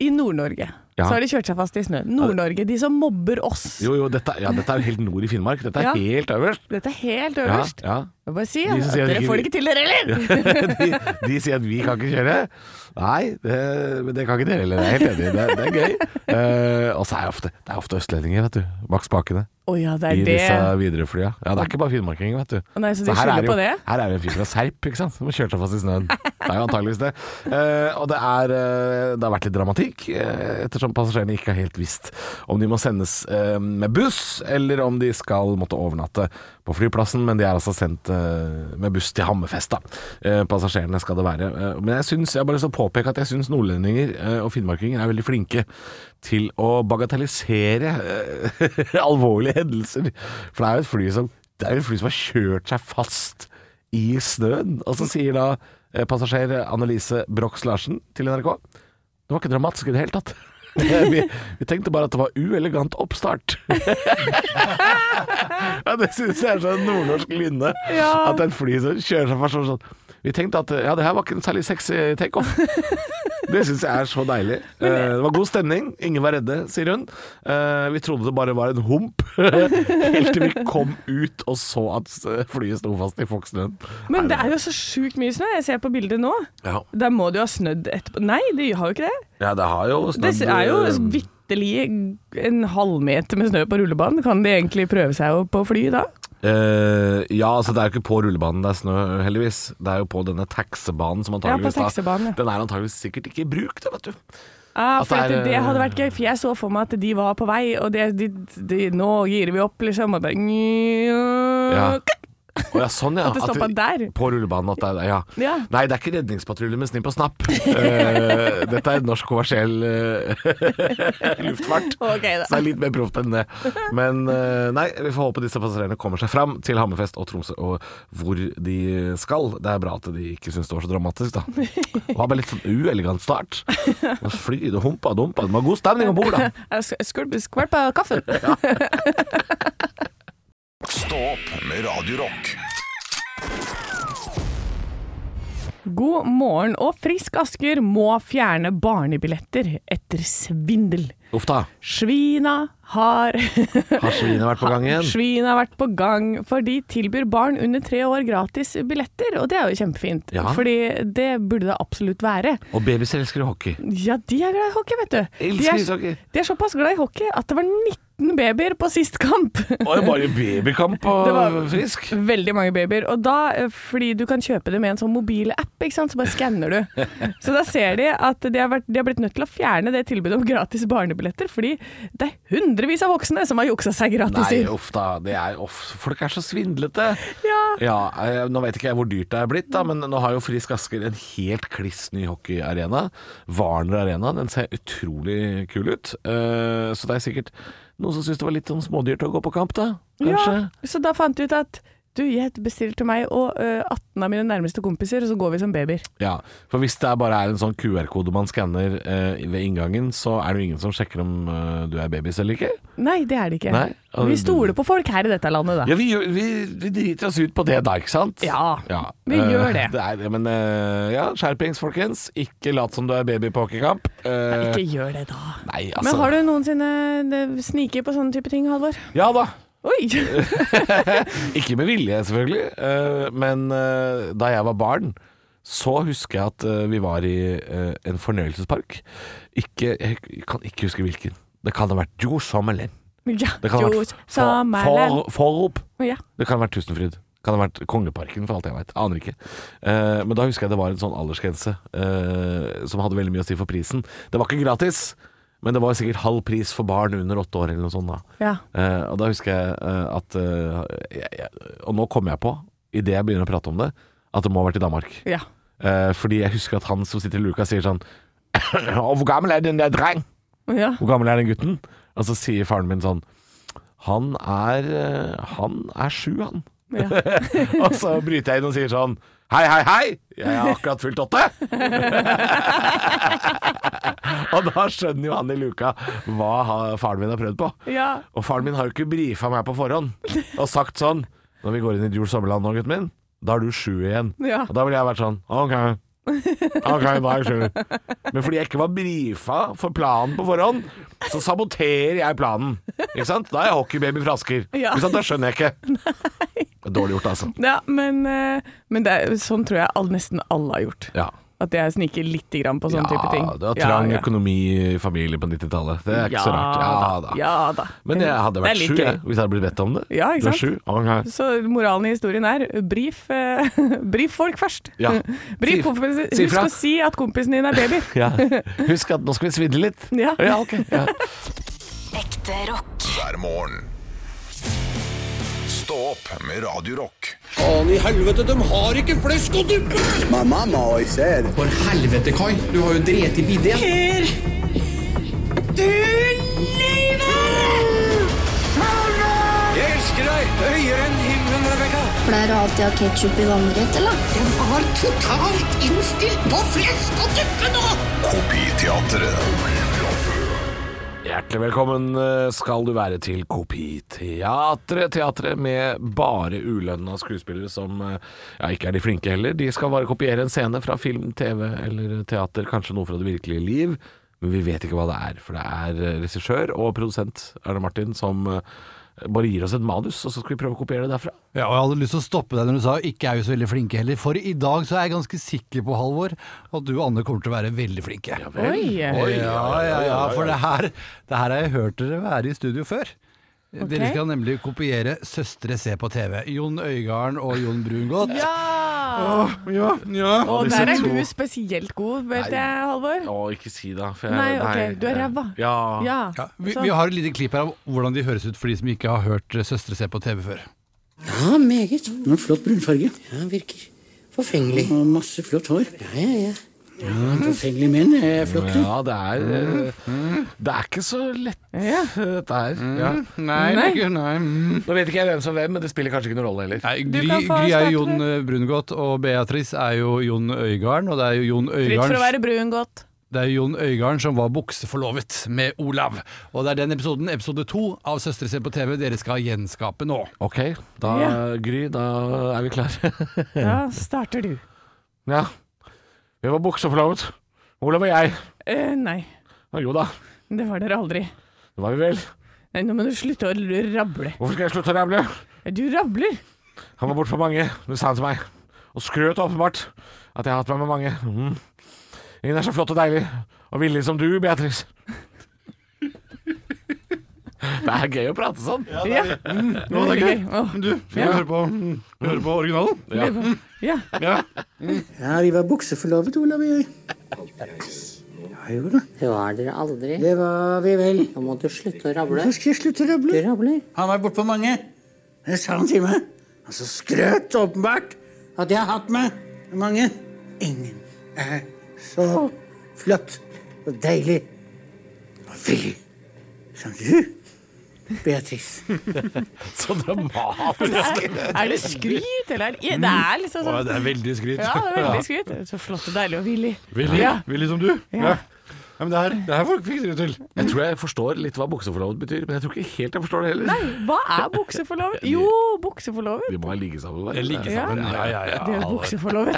Speaker 3: I Nord-Norge.
Speaker 4: Ja.
Speaker 3: Så har de kjørt seg fast i snø. Nord-Norge, de som mobber oss.
Speaker 4: Jo, jo, dette, ja, dette er jo helt nord i Finnmark. Dette er
Speaker 3: Ja.
Speaker 4: helt øverst.
Speaker 3: Dette er helt
Speaker 4: Ja,
Speaker 3: øverst.
Speaker 4: ja.
Speaker 3: Jeg må bare si
Speaker 4: De som
Speaker 3: at
Speaker 4: sier at
Speaker 3: dere
Speaker 4: ikke
Speaker 3: får
Speaker 4: vi-
Speaker 3: det ikke til, dere heller!
Speaker 4: de, de sier at vi kan ikke kjøre. Nei, det, men det kan ikke dere heller. Jeg er helt enig. Det, er- det er gøy. Eh, og så er det ofte, det er ofte østlendinger, vet du. Bak spakene.
Speaker 3: Å ja, det
Speaker 4: I
Speaker 3: er
Speaker 4: disse
Speaker 3: det.
Speaker 4: Widerøe-flya. Ja, det er ikke bare finnmarkinger, vet du.
Speaker 3: Nei, så de
Speaker 4: her,
Speaker 3: skylder
Speaker 4: er det jo,
Speaker 3: på det?
Speaker 4: her er det en fyr fra Serp ikke sant? som har kjørt seg fast i snøen. Det er jo antageligvis det. Eh, og det, er, eh, det har vært litt dramatikk, eh, ettersom passasjerene ikke har helt visst om de må sendes eh, med buss, eller om de skal måtte overnatte på flyplassen. Men de er altså sendt eh, med buss til Hammerfest, da. Eh, passasjerene skal det være. Eh, men jeg syns, jeg har bare lyst til å påpeke at jeg syns nordlendinger eh, og finnmarkinger er veldig flinke til å bagatellisere eh, alvorlige hendelser. For det er jo et fly som det er jo et fly som har kjørt seg fast i snøen. Og så sier da eh, passasjer Annelise Brox Larsen til NRK Det var ikke dramatisk i det hele tatt. vi, vi tenkte bare at det var uelegant oppstart. ja, det syns jeg er sånn nordnorsk lynne.
Speaker 3: Ja.
Speaker 4: At det er et fly som kjører seg fast sånn. Vi tenkte at ja, det her var ikke en særlig sexy takeoff. Det syns jeg er så deilig. Eh, det var god stemning, ingen var redde, sier hun. Eh, vi trodde det bare var en hump, helt til vi kom ut og så at eh, flyet sto fast i Foxnøen.
Speaker 3: Men det er jo så sjukt mye snø. Jeg ser på bildet nå.
Speaker 4: ja.
Speaker 3: Da må det jo ha snødd etterpå. Nei, det har jo ikke det.
Speaker 4: ja, det har jo
Speaker 3: Det
Speaker 4: snødd
Speaker 3: er jo
Speaker 4: eh,
Speaker 3: vitterlig en halvmeter med snø på rullebanen. Kan de egentlig prøve seg jo på fly da?
Speaker 4: eh, Ja, altså det er jo ikke på rullebanen det er snø, heldigvis. Det er jo på denne taxibanen som
Speaker 3: Ja, på
Speaker 4: antageligvis
Speaker 3: taxibanen, ja.
Speaker 4: Den er antageligvis sikkert ikke i bruk, det, vet du.
Speaker 3: Ja,
Speaker 4: At
Speaker 3: for
Speaker 4: det
Speaker 3: det,
Speaker 4: er, eh,
Speaker 3: det hadde vært gøy, for jeg så for meg at de var på vei, og det, de, de, nå girer vi opp, liksom. Og bare
Speaker 4: Ja. Å ja, sånn, ja.
Speaker 3: At det stoppa der.
Speaker 4: På rullebanen. At det, er- ja.
Speaker 3: Ja.
Speaker 4: Nei, det er ikke redningspatrulje med snipp og snapp. Eh, dette er norsk kommersiell eh, luftfart.
Speaker 3: Ok, da.
Speaker 4: Så det er litt mer proft enn det. Men eh, nei, vi får håpe disse passasjerene kommer seg fram til Hammerfest og Tromsø og hvor de skal. Det er bra at de ikke syns det var så dramatisk, da. Det var bare litt sånn uelegant start. Og Fly, det humpa, dumpa. Det var god stemning om bord, da.
Speaker 3: Jeg sk- skvulp- Skvalpa kaffen.
Speaker 2: Stå opp med Radio Rock.
Speaker 3: God morgen og Frisk Asker må fjerne barnebilletter etter svindel.
Speaker 4: Uff da.
Speaker 3: Svina har
Speaker 4: Har svinet vært på gang igjen?
Speaker 3: Svin har vært på gang, for de tilbyr barn under tre år gratis billetter, og det er jo kjempefint.
Speaker 4: Ja.
Speaker 3: Fordi det burde det absolutt være.
Speaker 4: Og babyer elsker hockey.
Speaker 3: Ja, de er glad i hockey, vet du. De
Speaker 4: Elsker
Speaker 3: er,
Speaker 4: ishockey.
Speaker 3: de er såpass glad i hockey at det var 19 babyer på sist kamp.
Speaker 4: Var det bare babykamp
Speaker 3: Det
Speaker 4: og
Speaker 3: var-
Speaker 4: frisk?
Speaker 3: Veldig mange babyer. Og da, eh, fordi du kan kjøpe det med en sånn mobilapp, ikke sant, så bare skanner du. Så da ser de at de har, vært, de har blitt nødt til å fjerne det tilbudet om gratis barnebilletter, fordi det er hundrevis av voksne som har juksa seg gratis
Speaker 4: Nei,
Speaker 3: inn.
Speaker 4: uff da. Det er, uff, folk er så svindlete.
Speaker 3: Ja.
Speaker 4: eh, nå vet ikke jeg hvor dyrt det er blitt, da, men nå har jo Frisk Asker en helt kliss ny hockeyarena. Warner Arena. Den ser utrolig kul ut. Eh, så det er sikkert noen som syns det var litt sånn smådyrt å gå på kamp, da. Kanskje.
Speaker 3: Ja, så da fant vi ut at du, jeg bestiller til meg og eh, 18 av mine nærmeste kompiser, og så går vi som babyer.
Speaker 4: Ja, for hvis det er bare er en sånn QR-kode man skanner eh, ved inngangen, så er det jo ingen som sjekker om eh, du er babys eller ikke.
Speaker 3: Nei, det er det ikke.
Speaker 4: Nei.
Speaker 3: Vi stoler på folk her i dette landet, da.
Speaker 4: Ja, vi, gjør, vi, vi driter oss ut på det da, ikke sant?
Speaker 3: Ja, vi gjør det.
Speaker 4: Eh, er det, men eh, ja, skjerpings, folkens. Ikke lat som du er baby på hockeykamp. Eh,
Speaker 3: Ikke gjør det, da.
Speaker 4: Nei, altså.
Speaker 3: Men har du noensinne sniket på sånne type ting, Halvor?
Speaker 4: Ja da.
Speaker 3: Oi!
Speaker 4: Ikke med vilje, selvfølgelig. eh, men eh, da jeg var barn, så husker jeg at eh, vi var i eh, en fornøyelsespark. Ikke, jeg kan ikke huske hvilken. Det kan ha vært Jo Sommerlen.
Speaker 3: Ja,
Speaker 4: Det kan ha
Speaker 3: jo,
Speaker 4: vært for,
Speaker 3: sommerland.
Speaker 4: for, Forop.
Speaker 3: Ja.
Speaker 4: Det kan ha vært Tusenfryd. Kan ha vært Kongeparken, for alt jeg veit. Aner ikke. Eh, men da husker jeg det var en sånn aldersgrense eh, som hadde veldig mye å si for prisen. Det var ikke gratis, men det var sikkert halv pris for barn under åtte år eller noe sånt. da
Speaker 3: ja.
Speaker 4: Eh, Og da husker jeg eh, at eh, jeg, jeg, Og nå kommer jeg på, idet jeg begynner å prate om det, at det må ha vært i Danmark.
Speaker 3: Ja.
Speaker 4: Eh, fordi jeg husker at han som sitter i luka, sier sånn «Å, Hvor gammel er den der dreng?
Speaker 3: ja.
Speaker 4: Hvor gammel er den gutten? Og så sier faren min sånn Han er eh, Han er sju, han.
Speaker 3: Ja.
Speaker 4: og så bryter jeg inn og sier sånn Hei, hei, hei! Jeg har akkurat fylt åtte! og da skjønner jo han i luka hva ha- faren min har prøvd på.
Speaker 3: ja.
Speaker 4: Og faren min har jo ikke brifa meg på forhånd og sagt sånn Når vi går inn i Jul Sommerland nå, gutten min, da er du sju igjen.
Speaker 3: Ja.
Speaker 4: Og da ville jeg vært sånn OK. Ok, da er jeg sju. Men fordi jeg ikke var brifa for planen på forhånd, så saboterer jeg planen. Ikke sant? Da er jeg hockeybaby fra Asker.
Speaker 3: Ja.
Speaker 4: Ikke sant? Da skjønner jeg ikke. Det er Dårlig gjort, altså.
Speaker 3: ja men, eh, men det er, sånn tror jeg all, nesten alle har gjort.
Speaker 4: Ja.
Speaker 3: At jeg sniker lite grann på sånne type ting.
Speaker 4: Ja, det var trang
Speaker 3: Ja, ja.
Speaker 4: økonomi i familien på 90-tallet. Det er ikke
Speaker 3: ja,
Speaker 4: så rart. Ja da.
Speaker 3: Ja da.
Speaker 4: Men jeg
Speaker 3: Det
Speaker 4: hadde
Speaker 3: er
Speaker 4: vært
Speaker 3: litt
Speaker 4: sju
Speaker 3: gøy.
Speaker 4: jeg, hvis jeg hadde blitt bedt om det.
Speaker 3: Ja, ikke
Speaker 4: Du er
Speaker 3: sant?
Speaker 4: sju? Ok.
Speaker 3: Så moralen i historien er brif, eh, brif folk først.
Speaker 4: Ja.
Speaker 3: Brif
Speaker 4: Si-
Speaker 3: kompisen,
Speaker 4: si
Speaker 3: husk
Speaker 4: fra.
Speaker 3: å si at kompisen din er baby.
Speaker 4: Ja. Husk at nå skal vi svindle litt.
Speaker 3: Ja.
Speaker 4: ja ok. Ja.
Speaker 1: Ekte rock.
Speaker 2: hver morgen. Stå opp med Radio Rock.
Speaker 6: Faen i helvete, de har ikke flesk og duppe!
Speaker 7: My mama always said,
Speaker 6: For helvete, Kai. Du har jo drept i bidé. Jeg elsker deg høyere enn himmelen, Rebekka.
Speaker 8: Pleier du alltid å ha ketsjup i vannrett, eller?
Speaker 6: Jeg var totalt innstilt på flesk og duppe nå!
Speaker 2: Kopiteatret.
Speaker 4: Hjertelig velkommen eh, skal du være til Kopiteatret. Teatret med bare ulønna skuespillere som eh, ja, ikke er de flinke heller. De skal bare kopiere en scene fra film, TV eller teater, kanskje noe fra det virkelige liv. Men vi vet ikke hva det er, for det er eh, regissør og produsent Erne Martin som eh, bare gir oss et manus, og så skal vi prøve å kopiere det derfra.
Speaker 9: Ja, og Jeg hadde lyst til å stoppe deg når du sa ikke er vi så veldig flinke heller, for i dag så er jeg ganske sikker på, Halvor, at du og Anne kommer til å være veldig flinke. Ja,
Speaker 3: Oi.
Speaker 9: ja, ja, ja, for det her, det her har jeg hørt dere være i studio før. Dere skal nemlig kopiere Søstre se på TV. Jon Øigarden og Jon Brungot.
Speaker 3: Ja!
Speaker 9: ja, ja.
Speaker 3: Og
Speaker 4: disse
Speaker 3: der er
Speaker 4: to-
Speaker 3: du spesielt god, vet jeg, Halvor.
Speaker 4: Å, ikke si det. For
Speaker 3: Nei, ok, du er ræva.
Speaker 4: Ja.
Speaker 3: Ja.
Speaker 9: eh, vi, vi har et lite klipp her av hvordan de høres ut for de som ikke har hørt Søstre se på TV før.
Speaker 6: Ja, meget.
Speaker 10: Men flott brunfarge.
Speaker 6: Ja, han virker forfengelig.
Speaker 10: Og masse flott hår.
Speaker 6: Ja, ja, ja.
Speaker 10: Ja, Forfengelige menn er flott. du.
Speaker 4: Ja, det er eh, Det er ikke så lett,
Speaker 3: Ja. Mm.
Speaker 4: dette her. Ja.
Speaker 9: Nei,
Speaker 3: Nei.
Speaker 9: ikke- nei. mm.
Speaker 4: Nå vet ikke jeg hvem som hvem, men det spiller kanskje ikke noen rolle heller.
Speaker 9: Nei,
Speaker 3: Du
Speaker 9: Gry,
Speaker 3: kan få
Speaker 9: Gry er
Speaker 3: starte,
Speaker 9: Jon eh, Brungot, og Beatrice er jo Jon Øygarden. Og det er jo Jon
Speaker 3: Fritt for å
Speaker 9: Øygarden,
Speaker 3: være brun godt.
Speaker 9: det er jo Jon Øygarden som var bukseforlovet med Olav. Og det er den episoden, episode to av Søstre ser på TV, dere skal gjenskape nå.
Speaker 4: Ok, da
Speaker 3: Ja.
Speaker 4: Gry, da er vi klare.
Speaker 3: Da starter du.
Speaker 4: ja. Vi var bukseforlovet. Olav og jeg.
Speaker 3: Eh, nei,
Speaker 4: Ja, jo da,
Speaker 3: det var dere aldri.
Speaker 4: det var vi vel.
Speaker 3: Nei, nå må du slutte å rable.
Speaker 4: Hvorfor skal jeg slutte å ramle?
Speaker 3: Du rabler!
Speaker 4: Han var borte for mange, det sa han til meg. Og skrøt åpenbart at jeg har hatt meg med mange. Mm. Ingen er så flott og deilig og villig som du, Beatrice. Det er gøy å prate sånn.
Speaker 3: Ja,
Speaker 9: Nå, det er gøy.
Speaker 3: Åh,
Speaker 9: Men Du, skal vi høre på, høre på originalen?
Speaker 3: ja.
Speaker 9: Ja.
Speaker 10: Ja, vi var bukseforlovet, Olav og jeg. Ja, jo da.
Speaker 6: Det var dere aldri.
Speaker 10: Det var vi vel.
Speaker 6: Nå må du slutte å rable.
Speaker 10: Så skal jeg slutte å
Speaker 6: Du
Speaker 10: rable.
Speaker 6: rabler.
Speaker 10: Han var bortpå mange. Det sa han til meg. Han så skrøt åpenbart at jeg har hatt med mange. Ingen er så flott og deilig og villig som du, Beatrice.
Speaker 4: Så dramatisk.
Speaker 3: Er det skryt, eller? Er det, det er liksom sånn
Speaker 9: det er veldig skryt.
Speaker 3: Ja, det er veldig skryt. Så flott og deilig og villig.
Speaker 9: Willy,
Speaker 3: Ja.
Speaker 9: Willy som du? Ja. Ja, men det her, det her folk fikser det til.
Speaker 4: Jeg tror jeg forstår litt hva bukseforlovet betyr, men jeg tror ikke helt jeg forstår det heller.
Speaker 3: Nei, hva er bukseforlovet? Jo, bukseforlovet.
Speaker 4: De må ha ligget sammen. hver.
Speaker 3: Ja. sammen,
Speaker 9: ja, ja, ja.
Speaker 3: De er bukseforlovet.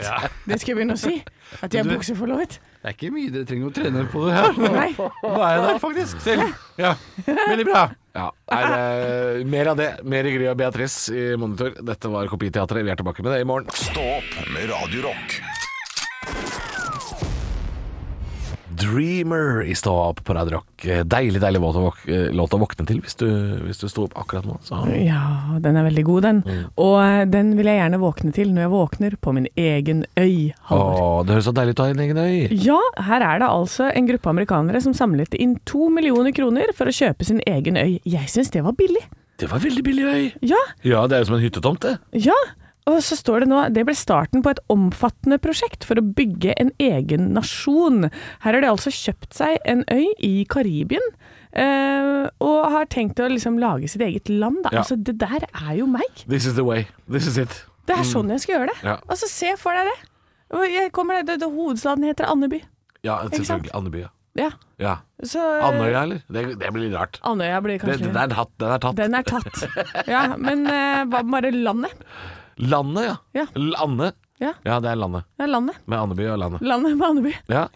Speaker 3: Det skal jeg begynne å si. At de er
Speaker 9: Du-
Speaker 3: bukseforlovet.
Speaker 9: Det er ikke mye dere trenger å trene på det her.
Speaker 3: Nei.
Speaker 9: Nå er jeg der faktisk selv. Ja, Veldig bra.
Speaker 4: Ja. Nei, det er mer av det. Mer i Gry og Beatrice i Monitor. Dette var Kopiteatret. Vi er tilbake med det i morgen.
Speaker 2: Stå opp med Radio Rock.
Speaker 4: Dreamer i Stå opp på Radio Rock. Deilig, deilig låt å, våk eh, låt å våkne til hvis du, hvis du sto opp akkurat nå. Så.
Speaker 3: Ja, den er veldig god, den. Og eh, den vil jeg gjerne våkne til når jeg våkner på min egen øy, Halvor.
Speaker 4: Åh, det høres så deilig ut å ha en egen øy.
Speaker 3: Ja, her er det altså en gruppe amerikanere som samlet inn to millioner kroner for å kjøpe sin egen øy. Jeg syns det var billig.
Speaker 4: Det var veldig billig øy.
Speaker 3: Ja,
Speaker 4: Ja, det er jo som en hyttetomt, det.
Speaker 3: ja. Og så står det nå det ble starten på et omfattende prosjekt for å bygge en egen nasjon. Her har de altså kjøpt seg en øy i Karibien. eh, og har tenkt å liksom lage sitt eget land, da.
Speaker 4: Ja.
Speaker 3: Altså, det der er jo meg.
Speaker 4: This is the way. This is it.
Speaker 3: Det er sånn jeg skal gjøre det.
Speaker 4: Mm. Ja.
Speaker 3: Altså, se for deg det. Og Jeg kommer, det, det hovedstaden heter Andeby.
Speaker 4: Ja,
Speaker 3: sant?
Speaker 4: selvfølgelig. Andeby, ja.
Speaker 3: Ja.
Speaker 4: ja.
Speaker 3: Så,
Speaker 4: Andøya, eller? Det, det blir litt rart.
Speaker 3: Andøya blir
Speaker 4: Det,
Speaker 3: kanskje
Speaker 4: den, er tatt, den er tatt.
Speaker 3: Den er tatt. Ja, men eh, hva med bare landet?
Speaker 4: Landet, ja.
Speaker 3: Ja.
Speaker 4: Lande.
Speaker 3: Ja.
Speaker 4: ja, det er landet.
Speaker 3: Det er landet.
Speaker 4: Med Andeby og landet.
Speaker 3: Landet med Andeby.
Speaker 4: Ja.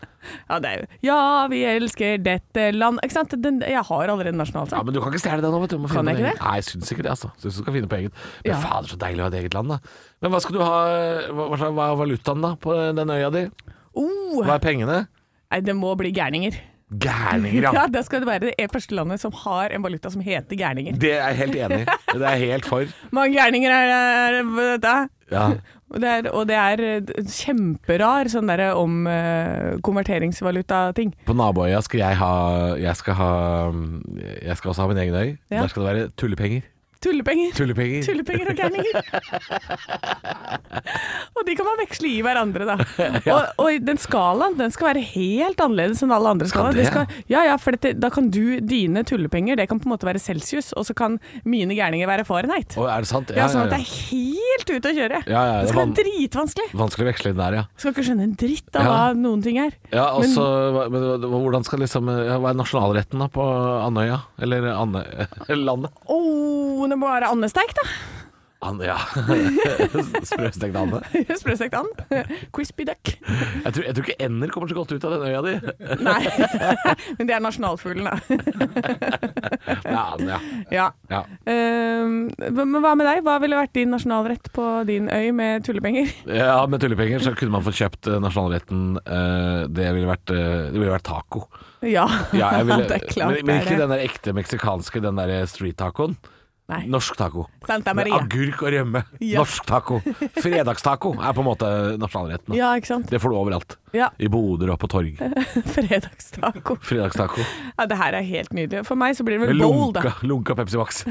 Speaker 3: Ja, det er jo Ja, vi elsker dette land Ikke sant? Den, jeg har allerede en
Speaker 4: Ja,
Speaker 3: nasjonalsang.
Speaker 4: men du kan ikke stjele det nå, vet du. du. må
Speaker 3: Kan
Speaker 4: finne
Speaker 3: jeg ikke
Speaker 4: din
Speaker 3: det?
Speaker 4: egen. Nei, jeg syns ikke det, altså. Syns du skal finne på eget. Men
Speaker 3: Ja.
Speaker 4: fader, så deilig å ha et eget land, da. Men hva skal du ha Hva, hva slags- hva er valutaen, da, på den øya di?
Speaker 3: Oh,
Speaker 4: Hva er pengene?
Speaker 3: nei, det må bli gærninger.
Speaker 4: Gærninger,
Speaker 3: Ja,
Speaker 4: ja.
Speaker 3: det skal det være det første landet som har en valuta som heter gærninger.
Speaker 4: Det er jeg helt enig i. Det er jeg helt for.
Speaker 3: Mange gærninger er er- er- da.
Speaker 4: Ja.
Speaker 3: Og det er, og det er eh, kjemperar sånn derre om eh, konverteringsvaluta-ting.
Speaker 4: På naboøya skal jeg ha Jeg skal ha Jeg skal også ha min egen øy.
Speaker 3: Ja.
Speaker 4: Der skal det være tullepenger.
Speaker 3: Tullepenger.
Speaker 4: Tullepenger.
Speaker 3: Tullepenger og gærninger. og de kan man veksle i hverandre, da. Og, og den skalaen den skal være helt annerledes enn alle andre skalaer.
Speaker 4: det?
Speaker 3: skal, ja, ja, for dette, da kan du dine tullepenger, det kan på en måte være celsius, og så kan mine gærninger være Fahrenheit.
Speaker 4: Å, er det sant?
Speaker 3: Ja, sånn at det er helt ute å kjøre.
Speaker 4: Ja, ja,
Speaker 3: det
Speaker 4: det
Speaker 3: skal
Speaker 4: van-
Speaker 3: være dritvanskelig.
Speaker 4: Vanskelig å veksle inn der, ja.
Speaker 3: Skal ikke skjønne en dritt av hva
Speaker 4: Ja.
Speaker 3: noen ting er.
Speaker 4: ja og
Speaker 3: Men-
Speaker 4: så, hva- men hva- hvordan skal liksom ja, Hva er nasjonalretten da på Andøya? Eller Andøy... Landet?
Speaker 3: Å, det må være andesteik, da.
Speaker 4: An ja. Sprøstekt ande.
Speaker 3: Sprøstekt and. Crispy duck.
Speaker 4: Jeg tror, jeg tror ikke ender kommer så godt ut av den øya di.
Speaker 3: Nei, men det er nasjonalfuglen, da.
Speaker 4: Ja, ja.
Speaker 3: Ja.
Speaker 4: ja.
Speaker 3: Ehm, hva- men hva med deg? Hva ville vært din nasjonalrett på din øy med tullepenger?
Speaker 4: ja, med tullepenger så kunne man fått kjøpt eh, nasjonalretten eh, Det ville vært, eh, det ville vært taco.
Speaker 3: Ja,
Speaker 4: Ja, jeg ville,
Speaker 3: det er klart
Speaker 4: men, men
Speaker 3: det
Speaker 4: ikke
Speaker 3: er det.
Speaker 4: den der ekte meksikanske, den der eh, street tacoen.
Speaker 3: Nei.
Speaker 4: Norsk taco.
Speaker 3: Santa
Speaker 4: Med
Speaker 3: Maria.
Speaker 4: agurk og rømme.
Speaker 3: Ja.
Speaker 4: Norsk taco. Fredagstaco er på en måte nasjonalretten. da.
Speaker 3: Ja, ikke sant.
Speaker 4: Det får du overalt.
Speaker 3: Ja.
Speaker 4: I boder og på torg.
Speaker 3: Fredagstaco.
Speaker 4: Fredagstaco.
Speaker 3: Ja, det her er helt nydelig. For meg så blir det
Speaker 4: Med
Speaker 3: vel bowl, da.
Speaker 4: lunka, lunka Pepsi Max.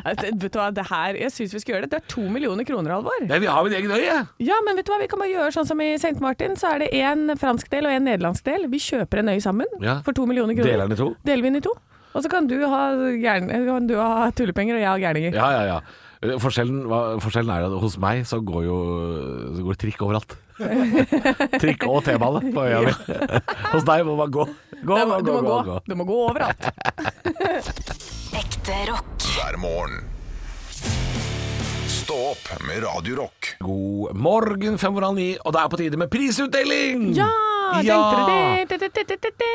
Speaker 3: Altså, Vet du hva, det her, jeg syns vi skal gjøre det. Det er to millioner kroner, Alvor.
Speaker 4: Jeg vil ha mitt eget øye!
Speaker 3: Ja, men vet du hva, vi kan bare gjøre sånn som i St. Martin, så er det en fransk del og en nederlandsk del. Vi kjøper en øy sammen
Speaker 4: Ja.
Speaker 3: for to millioner kroner.
Speaker 4: Deler den i to?
Speaker 3: Deler vi den i to. Og så kan du ha, gæren- kan du ha tullepenger, og jeg har gærninger.
Speaker 4: Ja, ja, ja. Eh, Forskjellen, hva, forskjellen er at hos meg så går jo så går det trikk overalt. trikk og T-bane på øya mi. hos deg må man gå. Gå,
Speaker 3: Det
Speaker 4: gå,
Speaker 3: må- du,
Speaker 4: gå,
Speaker 3: må
Speaker 4: gå,
Speaker 3: gå.
Speaker 4: gå.
Speaker 3: du må gå overalt.
Speaker 1: Ekte rock.
Speaker 2: hver morgen. Stå opp med Radio Rock.
Speaker 4: God morgen, fem over halv ni, og det er på tide med prisutdeling!
Speaker 3: Ja!
Speaker 4: Ja!
Speaker 3: tenkte du det? Det, det, det, det.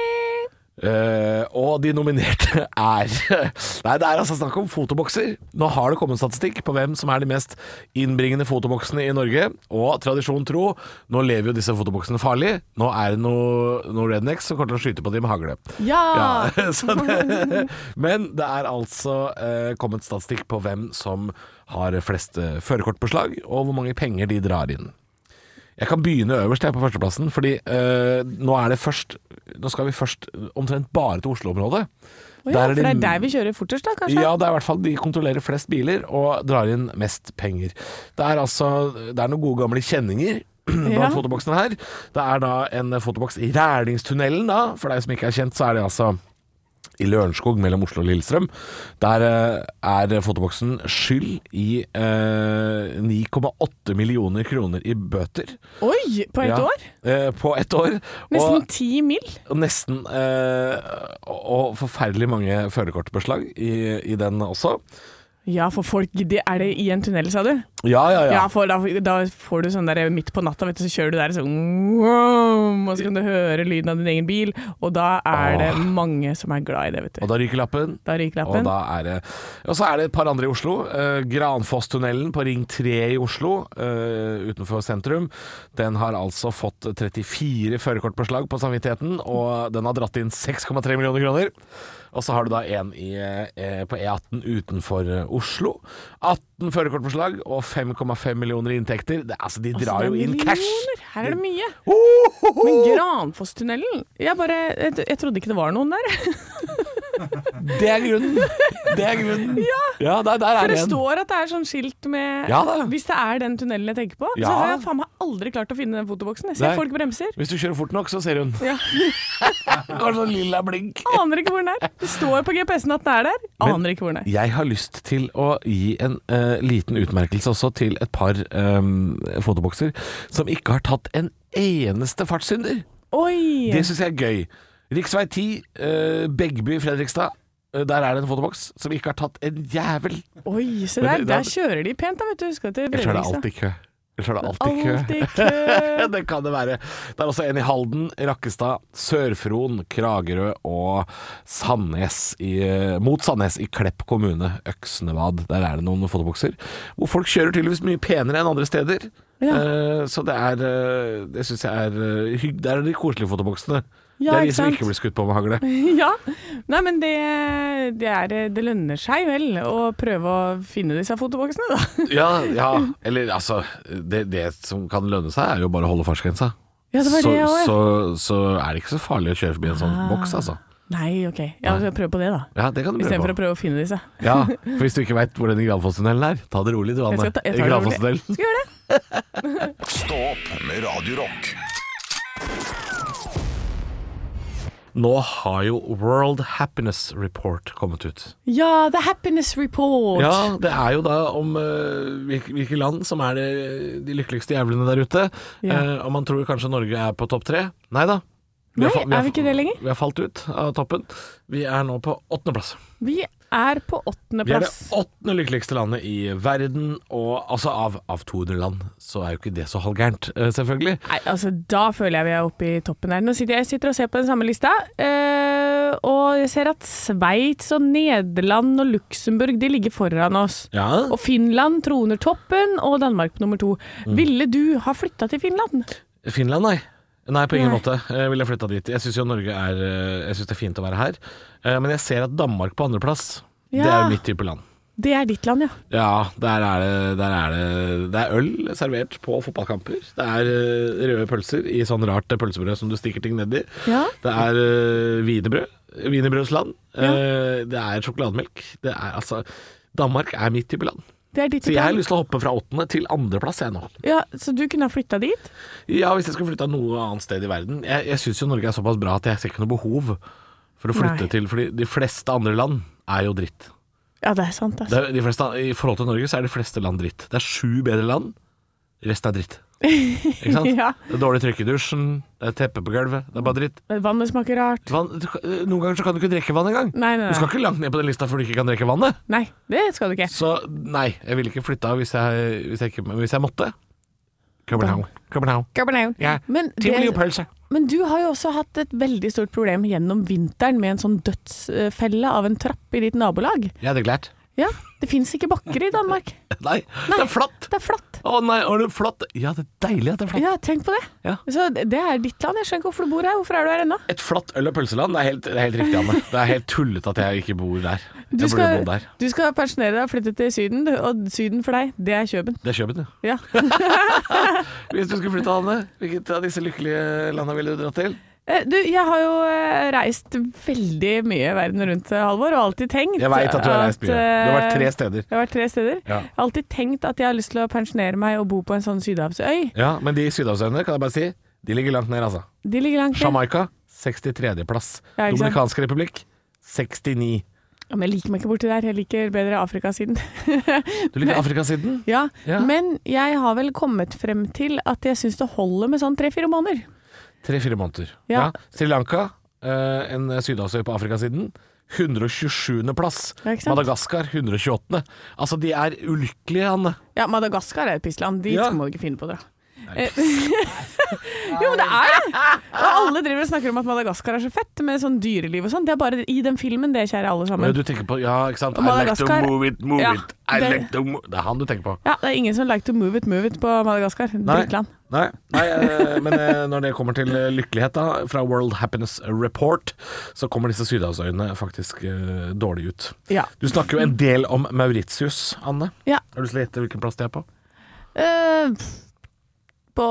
Speaker 4: Eh, og de nominerte er Nei, det er altså snakk om fotobokser. Nå har det kommet statistikk på hvem som er de mest innbringende fotoboksene i Norge. Og tradisjon tro, nå lever jo disse fotoboksene farlig. Nå er det noen noe rednecks som kommer til å skyte på dem med hagle.
Speaker 3: Ja!
Speaker 4: Ja, så det, men det er altså eh, kommet statistikk på hvem som har flest eh, førerkortpåslag, og hvor mange penger de drar inn. Jeg kan begynne øverst jeg på førsteplassen, fordi eh, nå er det først Nå skal vi først omtrent bare til Oslo-området.
Speaker 3: Å ja, for det er der vi kjører fortest, da, kanskje?
Speaker 4: Ja, det er i hvert fall de kontrollerer flest biler og drar inn mest penger. Det er altså Det er noen gode gamle kjenninger blant
Speaker 3: Ja.
Speaker 4: fotoboksene her. Det er da en fotoboks i Rælingstunnelen, da. For deg som ikke er kjent, så er det altså i Lørenskog mellom Oslo og Lillestrøm. Der eh, er fotoboksen skyld i eh, 9,8 millioner kroner i bøter.
Speaker 3: Oi, på ett
Speaker 4: Ja,
Speaker 3: år?
Speaker 4: eh, på ett år.
Speaker 3: Nesten
Speaker 4: Og-
Speaker 3: ti mil?
Speaker 4: og Nesten eh, og forferdelig mange førerkortbeslag i, i den også.
Speaker 3: Ja, for folk det Er det i en tunnel, sa du?
Speaker 4: Ja, ja,
Speaker 3: Ja,
Speaker 4: ja.
Speaker 3: for da, da får du sånn der midt på natta, vet du, så kjører du der sånn wow, Og så kan du høre lyden av din egen bil, og da er det mange som er glad i det, vet du.
Speaker 4: Og da ryker lappen.
Speaker 3: Da ryker
Speaker 4: Og,
Speaker 3: lappen.
Speaker 4: da er det, og så er det et par andre i Oslo. Eh, Granfosstunnelen på Ring 3 i Oslo, eh, utenfor sentrum, den har altså fått 34 førerkortbeslag på samvittigheten, og den har dratt inn 6,3 millioner kroner. Og så har du da en i, eh, på E18 utenfor eh, Oslo. 18 førerkortbeslag og 5,5 millioner i inntekter. Det, altså, de drar
Speaker 3: det er
Speaker 4: jo inn cash!
Speaker 3: millioner. Her er det mye. Men Granfosstunnelen Jeg bare jeg, jeg trodde ikke det var noen der.
Speaker 4: Det er grunnen! Det er grunnen. Ja, der, der
Speaker 3: For
Speaker 4: er
Speaker 3: det
Speaker 4: en.
Speaker 3: står at det er sånn skilt med
Speaker 4: Ja da.
Speaker 3: Hvis det er den tunnelen jeg tenker på,
Speaker 4: Ja.
Speaker 3: så har jeg faen meg aldri klart å finne den fotoboksen. Jeg ser
Speaker 4: Nei.
Speaker 3: folk bremser.
Speaker 4: Hvis du kjører fort nok, så ser hun.
Speaker 3: Ja.
Speaker 4: Kanskje sånn lilla blink.
Speaker 3: Aner ikke hvor den er. Det står på GPS-en at den er der. Aner ikke hvor den er.
Speaker 4: Jeg har lyst til å gi en eh, liten utmerkelse også til et par eh, fotobokser som ikke har tatt en eneste fartssynder.
Speaker 3: Oi!
Speaker 4: Det syns jeg er gøy. Riksvei 10, eh, Beggby, Fredrikstad. Eh, Der er det en fotoboks som ikke har tatt en jævel.
Speaker 3: Oi, se
Speaker 4: Men
Speaker 3: der.
Speaker 4: det-
Speaker 3: Der
Speaker 4: det-
Speaker 3: kjører de pent, da, vet du. Husker til
Speaker 4: Ellers er det
Speaker 3: Fredrikstad.
Speaker 4: alltid kø. Ellers er det alltid kø.
Speaker 3: Alltid kø.
Speaker 4: det kan det være. Det er også en i Halden, Rakkestad, Sør-Fron, Kragerø og Sandnes i, mot Sandnes i Klepp kommune, Øksnevad. Der er det noen fotobokser. Hvor folk kjører tydeligvis mye penere enn andre steder. Eh, så det er eh, Det syns jeg er eh, hygg... Der er de koselige fotoboksene.
Speaker 3: Ja,
Speaker 4: det er de
Speaker 3: ikke
Speaker 4: som
Speaker 3: sant?
Speaker 4: ikke blir skutt på med hagle.
Speaker 3: Ja. Nei, men det, det, er, det lønner seg vel å prøve å finne disse fotoboksene, da.
Speaker 4: Ja, ja. Eller altså det, det som kan lønne seg, er jo bare å holde fartsgrensa.
Speaker 3: Ja, det var
Speaker 4: så,
Speaker 3: det også, Ah. ja.
Speaker 4: så, så er det ikke så farlig å kjøre forbi en sånn boks, altså.
Speaker 3: Nei, OK. Ja, vi skal prøve på det, da.
Speaker 4: Ja, det kan du
Speaker 3: Istedenfor å
Speaker 4: prøve på.
Speaker 3: prøve å finne disse.
Speaker 4: Ja, for hvis du ikke veit hvor den Granfosstunnelen er, ta det rolig du,
Speaker 3: Jeg
Speaker 4: Anne.
Speaker 3: skal ta, jeg tar det rolig.
Speaker 4: Granfosstunnelen.
Speaker 3: Skal gjøre det.
Speaker 2: Stå opp med Radio Rock
Speaker 4: Nå har jo World Happiness Report kommet ut.
Speaker 3: Ja, The Happiness Report.
Speaker 4: Ja, det er jo da om eh, hvilke, hvilke land som er det, de lykkeligste jævlene der ute.
Speaker 3: Ja.
Speaker 4: Eh, og man tror kanskje Norge er på topp tre. Nei da.
Speaker 3: Nei,
Speaker 4: fa-
Speaker 3: er vi ikke det lenger?
Speaker 4: Vi har falt ut av toppen. Vi er nå på åttendeplass.
Speaker 3: Vi er på
Speaker 4: Vi er det
Speaker 3: åttendeplass.
Speaker 4: åttende lykkeligste landet i verden, og altså av, av 200 land, så er jo ikke det så halvgærent, eh, selvfølgelig.
Speaker 3: Nei, altså Da føler jeg vi er oppe i toppen her. Nå sitter jeg sitter og ser på den samme lista, eh, og jeg ser at Sveits og Nederland og Luxembourg de ligger foran oss.
Speaker 4: Ja.
Speaker 3: Og Finland troner toppen, og Danmark på nummer to.
Speaker 4: Mm.
Speaker 3: Ville du ha flytta til Finland?
Speaker 4: Finland, nei. Nei, på ingen
Speaker 3: Nei.
Speaker 4: måte eh, ville jeg flytta dit. Jeg syns jo Norge er eh, Jeg synes det er fint å være her, eh, men jeg ser at Danmark på andreplass, det er
Speaker 3: Ja.
Speaker 4: jo mitt type land.
Speaker 3: Det er ditt land, ja.
Speaker 4: Ja, der er det Der er det Det er øl servert på fotballkamper. Det er eh, røde pølser i sånn rart pølsebrød som du stikker ting nedi.
Speaker 3: Ja.
Speaker 4: Det er eh, wienerbrød. Wienerbrødsland. Eh, Det er sjokolademelk. Det er altså Danmark er mitt typeland.
Speaker 3: Det er ditt
Speaker 4: Så jeg har
Speaker 3: plan.
Speaker 4: lyst til å hoppe fra åttende til andreplass, jeg nå.
Speaker 3: Ja, så du kunne ha flytta dit?
Speaker 4: Ja, hvis jeg skulle flytta noe annet sted i verden. Jeg, jeg syns jo Norge er såpass bra at jeg ser ikke noe behov for å flytte
Speaker 3: Nei.
Speaker 4: til Fordi de fleste andre land er jo dritt.
Speaker 3: Ja, det er sant,
Speaker 4: Det
Speaker 3: altså.
Speaker 4: er, de fleste, I forhold til Norge så er de fleste land dritt. Det er sju bedre land, resten er dritt. Ikke sant?
Speaker 3: Ja.
Speaker 4: Det er dårlig trykk i dusjen, det er teppe på gulvet, det er bare dritt.
Speaker 3: Vannet smaker rart.
Speaker 4: Vann, du, kan- noen ganger så kan du ikke drikke vann engang.
Speaker 3: Nei, nei, nei.
Speaker 4: Du skal ikke langt ned på den lista før du ikke kan drikke vannet.
Speaker 3: Nei, det skal du ikke.
Speaker 4: Så nei, jeg ville ikke flytta hvis, jeg- hvis, jeg ikke- hvis jeg måtte. København. København. Ja.
Speaker 3: Men,
Speaker 4: Tivoli
Speaker 3: det,
Speaker 4: og pølse.
Speaker 3: men du har jo også hatt et veldig stort problem gjennom vinteren med en sånn dødsfelle av en trapp i ditt nabolag.
Speaker 4: Jeg hadde glært.
Speaker 3: Ja, det fins ikke bakker i Danmark.
Speaker 4: Nei, det er flatt!
Speaker 3: Det er flatt.
Speaker 4: Å nei, er det flatt? Ja, det er deilig at det er flatt.
Speaker 3: Ja, tenk på det.
Speaker 4: Ja.
Speaker 3: Så det det er ditt land. Jeg skjønner ikke hvorfor du bor her. Hvorfor er du her ennå?
Speaker 4: Et flatt øl- og pølseland, det er helt, det er helt riktig, Anne. Det er helt tullete at jeg ikke bor der.
Speaker 3: Du
Speaker 4: Jeg burde
Speaker 3: skal,
Speaker 4: bodd der.
Speaker 3: du skal pensjonere deg og flytte til Syden, du. og Syden for deg, det er Kjøben.
Speaker 4: Det er Kjøben, ja.
Speaker 3: Ja.
Speaker 4: Hvis du skulle flytte, Anne, hvilket av disse lykkelige landa ville du dratt til?
Speaker 3: Eh, Du, jeg har jo eh, reist veldig mye verden rundt, eh, Halvor, og alltid tenkt
Speaker 4: Jeg veit at du har reist mye. Du har vært tre
Speaker 3: eh,
Speaker 4: steder.
Speaker 3: Jeg har vært tre steder.
Speaker 4: Ja.
Speaker 3: Jeg har alltid tenkt at jeg har lyst til å pensjonere meg og bo på en sånn sydhavsøy.
Speaker 4: Ja, men de sydhavsøyene, kan jeg bare si, de ligger langt ned, altså.
Speaker 3: De ligger langt ned.
Speaker 4: Jamaica, 63.-plass.
Speaker 3: Ja, ikke sant?
Speaker 4: Dominikansk republikk, 69.
Speaker 3: Ja, Men jeg liker meg ikke borti der. Jeg liker bedre Afrikasiden.
Speaker 4: Du liker Afrikasiden?
Speaker 3: ja.
Speaker 4: Ja.
Speaker 3: Men jeg har vel kommet frem til at jeg syns det holder med sånn tre-fire måneder.
Speaker 4: Tre-fire måneder.
Speaker 3: Ja.
Speaker 4: Sri Lanka, eh, en sydhavsøy på Afrikasiden. 127. plass.
Speaker 3: Ja, ikke sant?
Speaker 4: Madagaskar 128. Altså, de er ulykkelige, Anne.
Speaker 3: Ja, Madagaskar er et pissland. Dit
Speaker 4: Ja.
Speaker 3: må du ikke finne på å dra. Eh, jo, men det er det! Og alle driver og snakker om at Madagaskar er så fett, med sånn dyreliv og sånn. Det er bare i den filmen, det, kjære alle
Speaker 4: Men,
Speaker 3: sammen.
Speaker 4: du tenker på Ja, ikke sant?
Speaker 3: Og
Speaker 4: I like to
Speaker 3: Madagaskar-
Speaker 4: move it, move
Speaker 3: Ja,
Speaker 4: it. I
Speaker 3: det-
Speaker 4: like to move Det er han du tenker på.
Speaker 3: Ja, det er ingen som like to move it, move it på Madagaskar. Drittland.
Speaker 4: Nei, nei eh, men eh, når det kommer til eh, lykkelighet, da, fra World Happiness Report, så kommer disse sydhavsøyene faktisk eh, dårlig ut.
Speaker 3: Ja.
Speaker 4: Du snakker jo en del om Mauritius, Anne.
Speaker 3: Ja.
Speaker 4: Har du lyst til å gjette hvilken plass de er på?
Speaker 3: Eh, på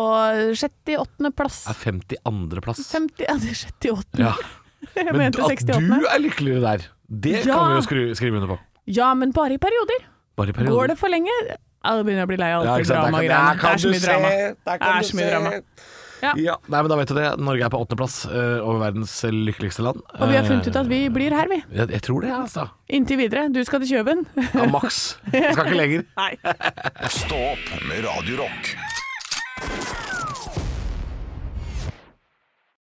Speaker 3: 68. plass.
Speaker 4: Er 52. plass.
Speaker 3: 50, ja, det er 68.
Speaker 4: Ja.
Speaker 3: Jeg
Speaker 4: Men
Speaker 3: mente
Speaker 4: at du
Speaker 3: 68.
Speaker 4: er lykkeligere der, det
Speaker 3: Ja.
Speaker 4: kan vi jo skru, skrive under på.
Speaker 3: Ja, men bare i perioder.
Speaker 4: Bare i
Speaker 3: Går
Speaker 4: perioden.
Speaker 3: det for lenge? Ja, da begynner jeg å bli lei av
Speaker 4: Ja,
Speaker 3: alt det
Speaker 4: ikke sant? Der kan-
Speaker 3: dramagreiene.
Speaker 4: der
Speaker 3: Det
Speaker 4: kan
Speaker 3: er så
Speaker 4: du
Speaker 3: mye
Speaker 4: se,
Speaker 3: drama.
Speaker 4: der
Speaker 3: Det
Speaker 4: kan
Speaker 3: er
Speaker 4: du
Speaker 3: så mye
Speaker 4: se.
Speaker 3: drama. Ja.
Speaker 4: Ja, nei, men da vet du det. Norge er på åttendeplass eh, over verdens lykkeligste land.
Speaker 3: Og vi har funnet ut at
Speaker 4: Eh,
Speaker 3: vi blir her, vi.
Speaker 4: jeg, jeg tror det, altså.
Speaker 3: Inntil videre. Du skal til Kjøben.
Speaker 4: Ja, maks. Jeg skal ikke lenger.
Speaker 3: Nei.
Speaker 2: Stå opp med Radio Rock.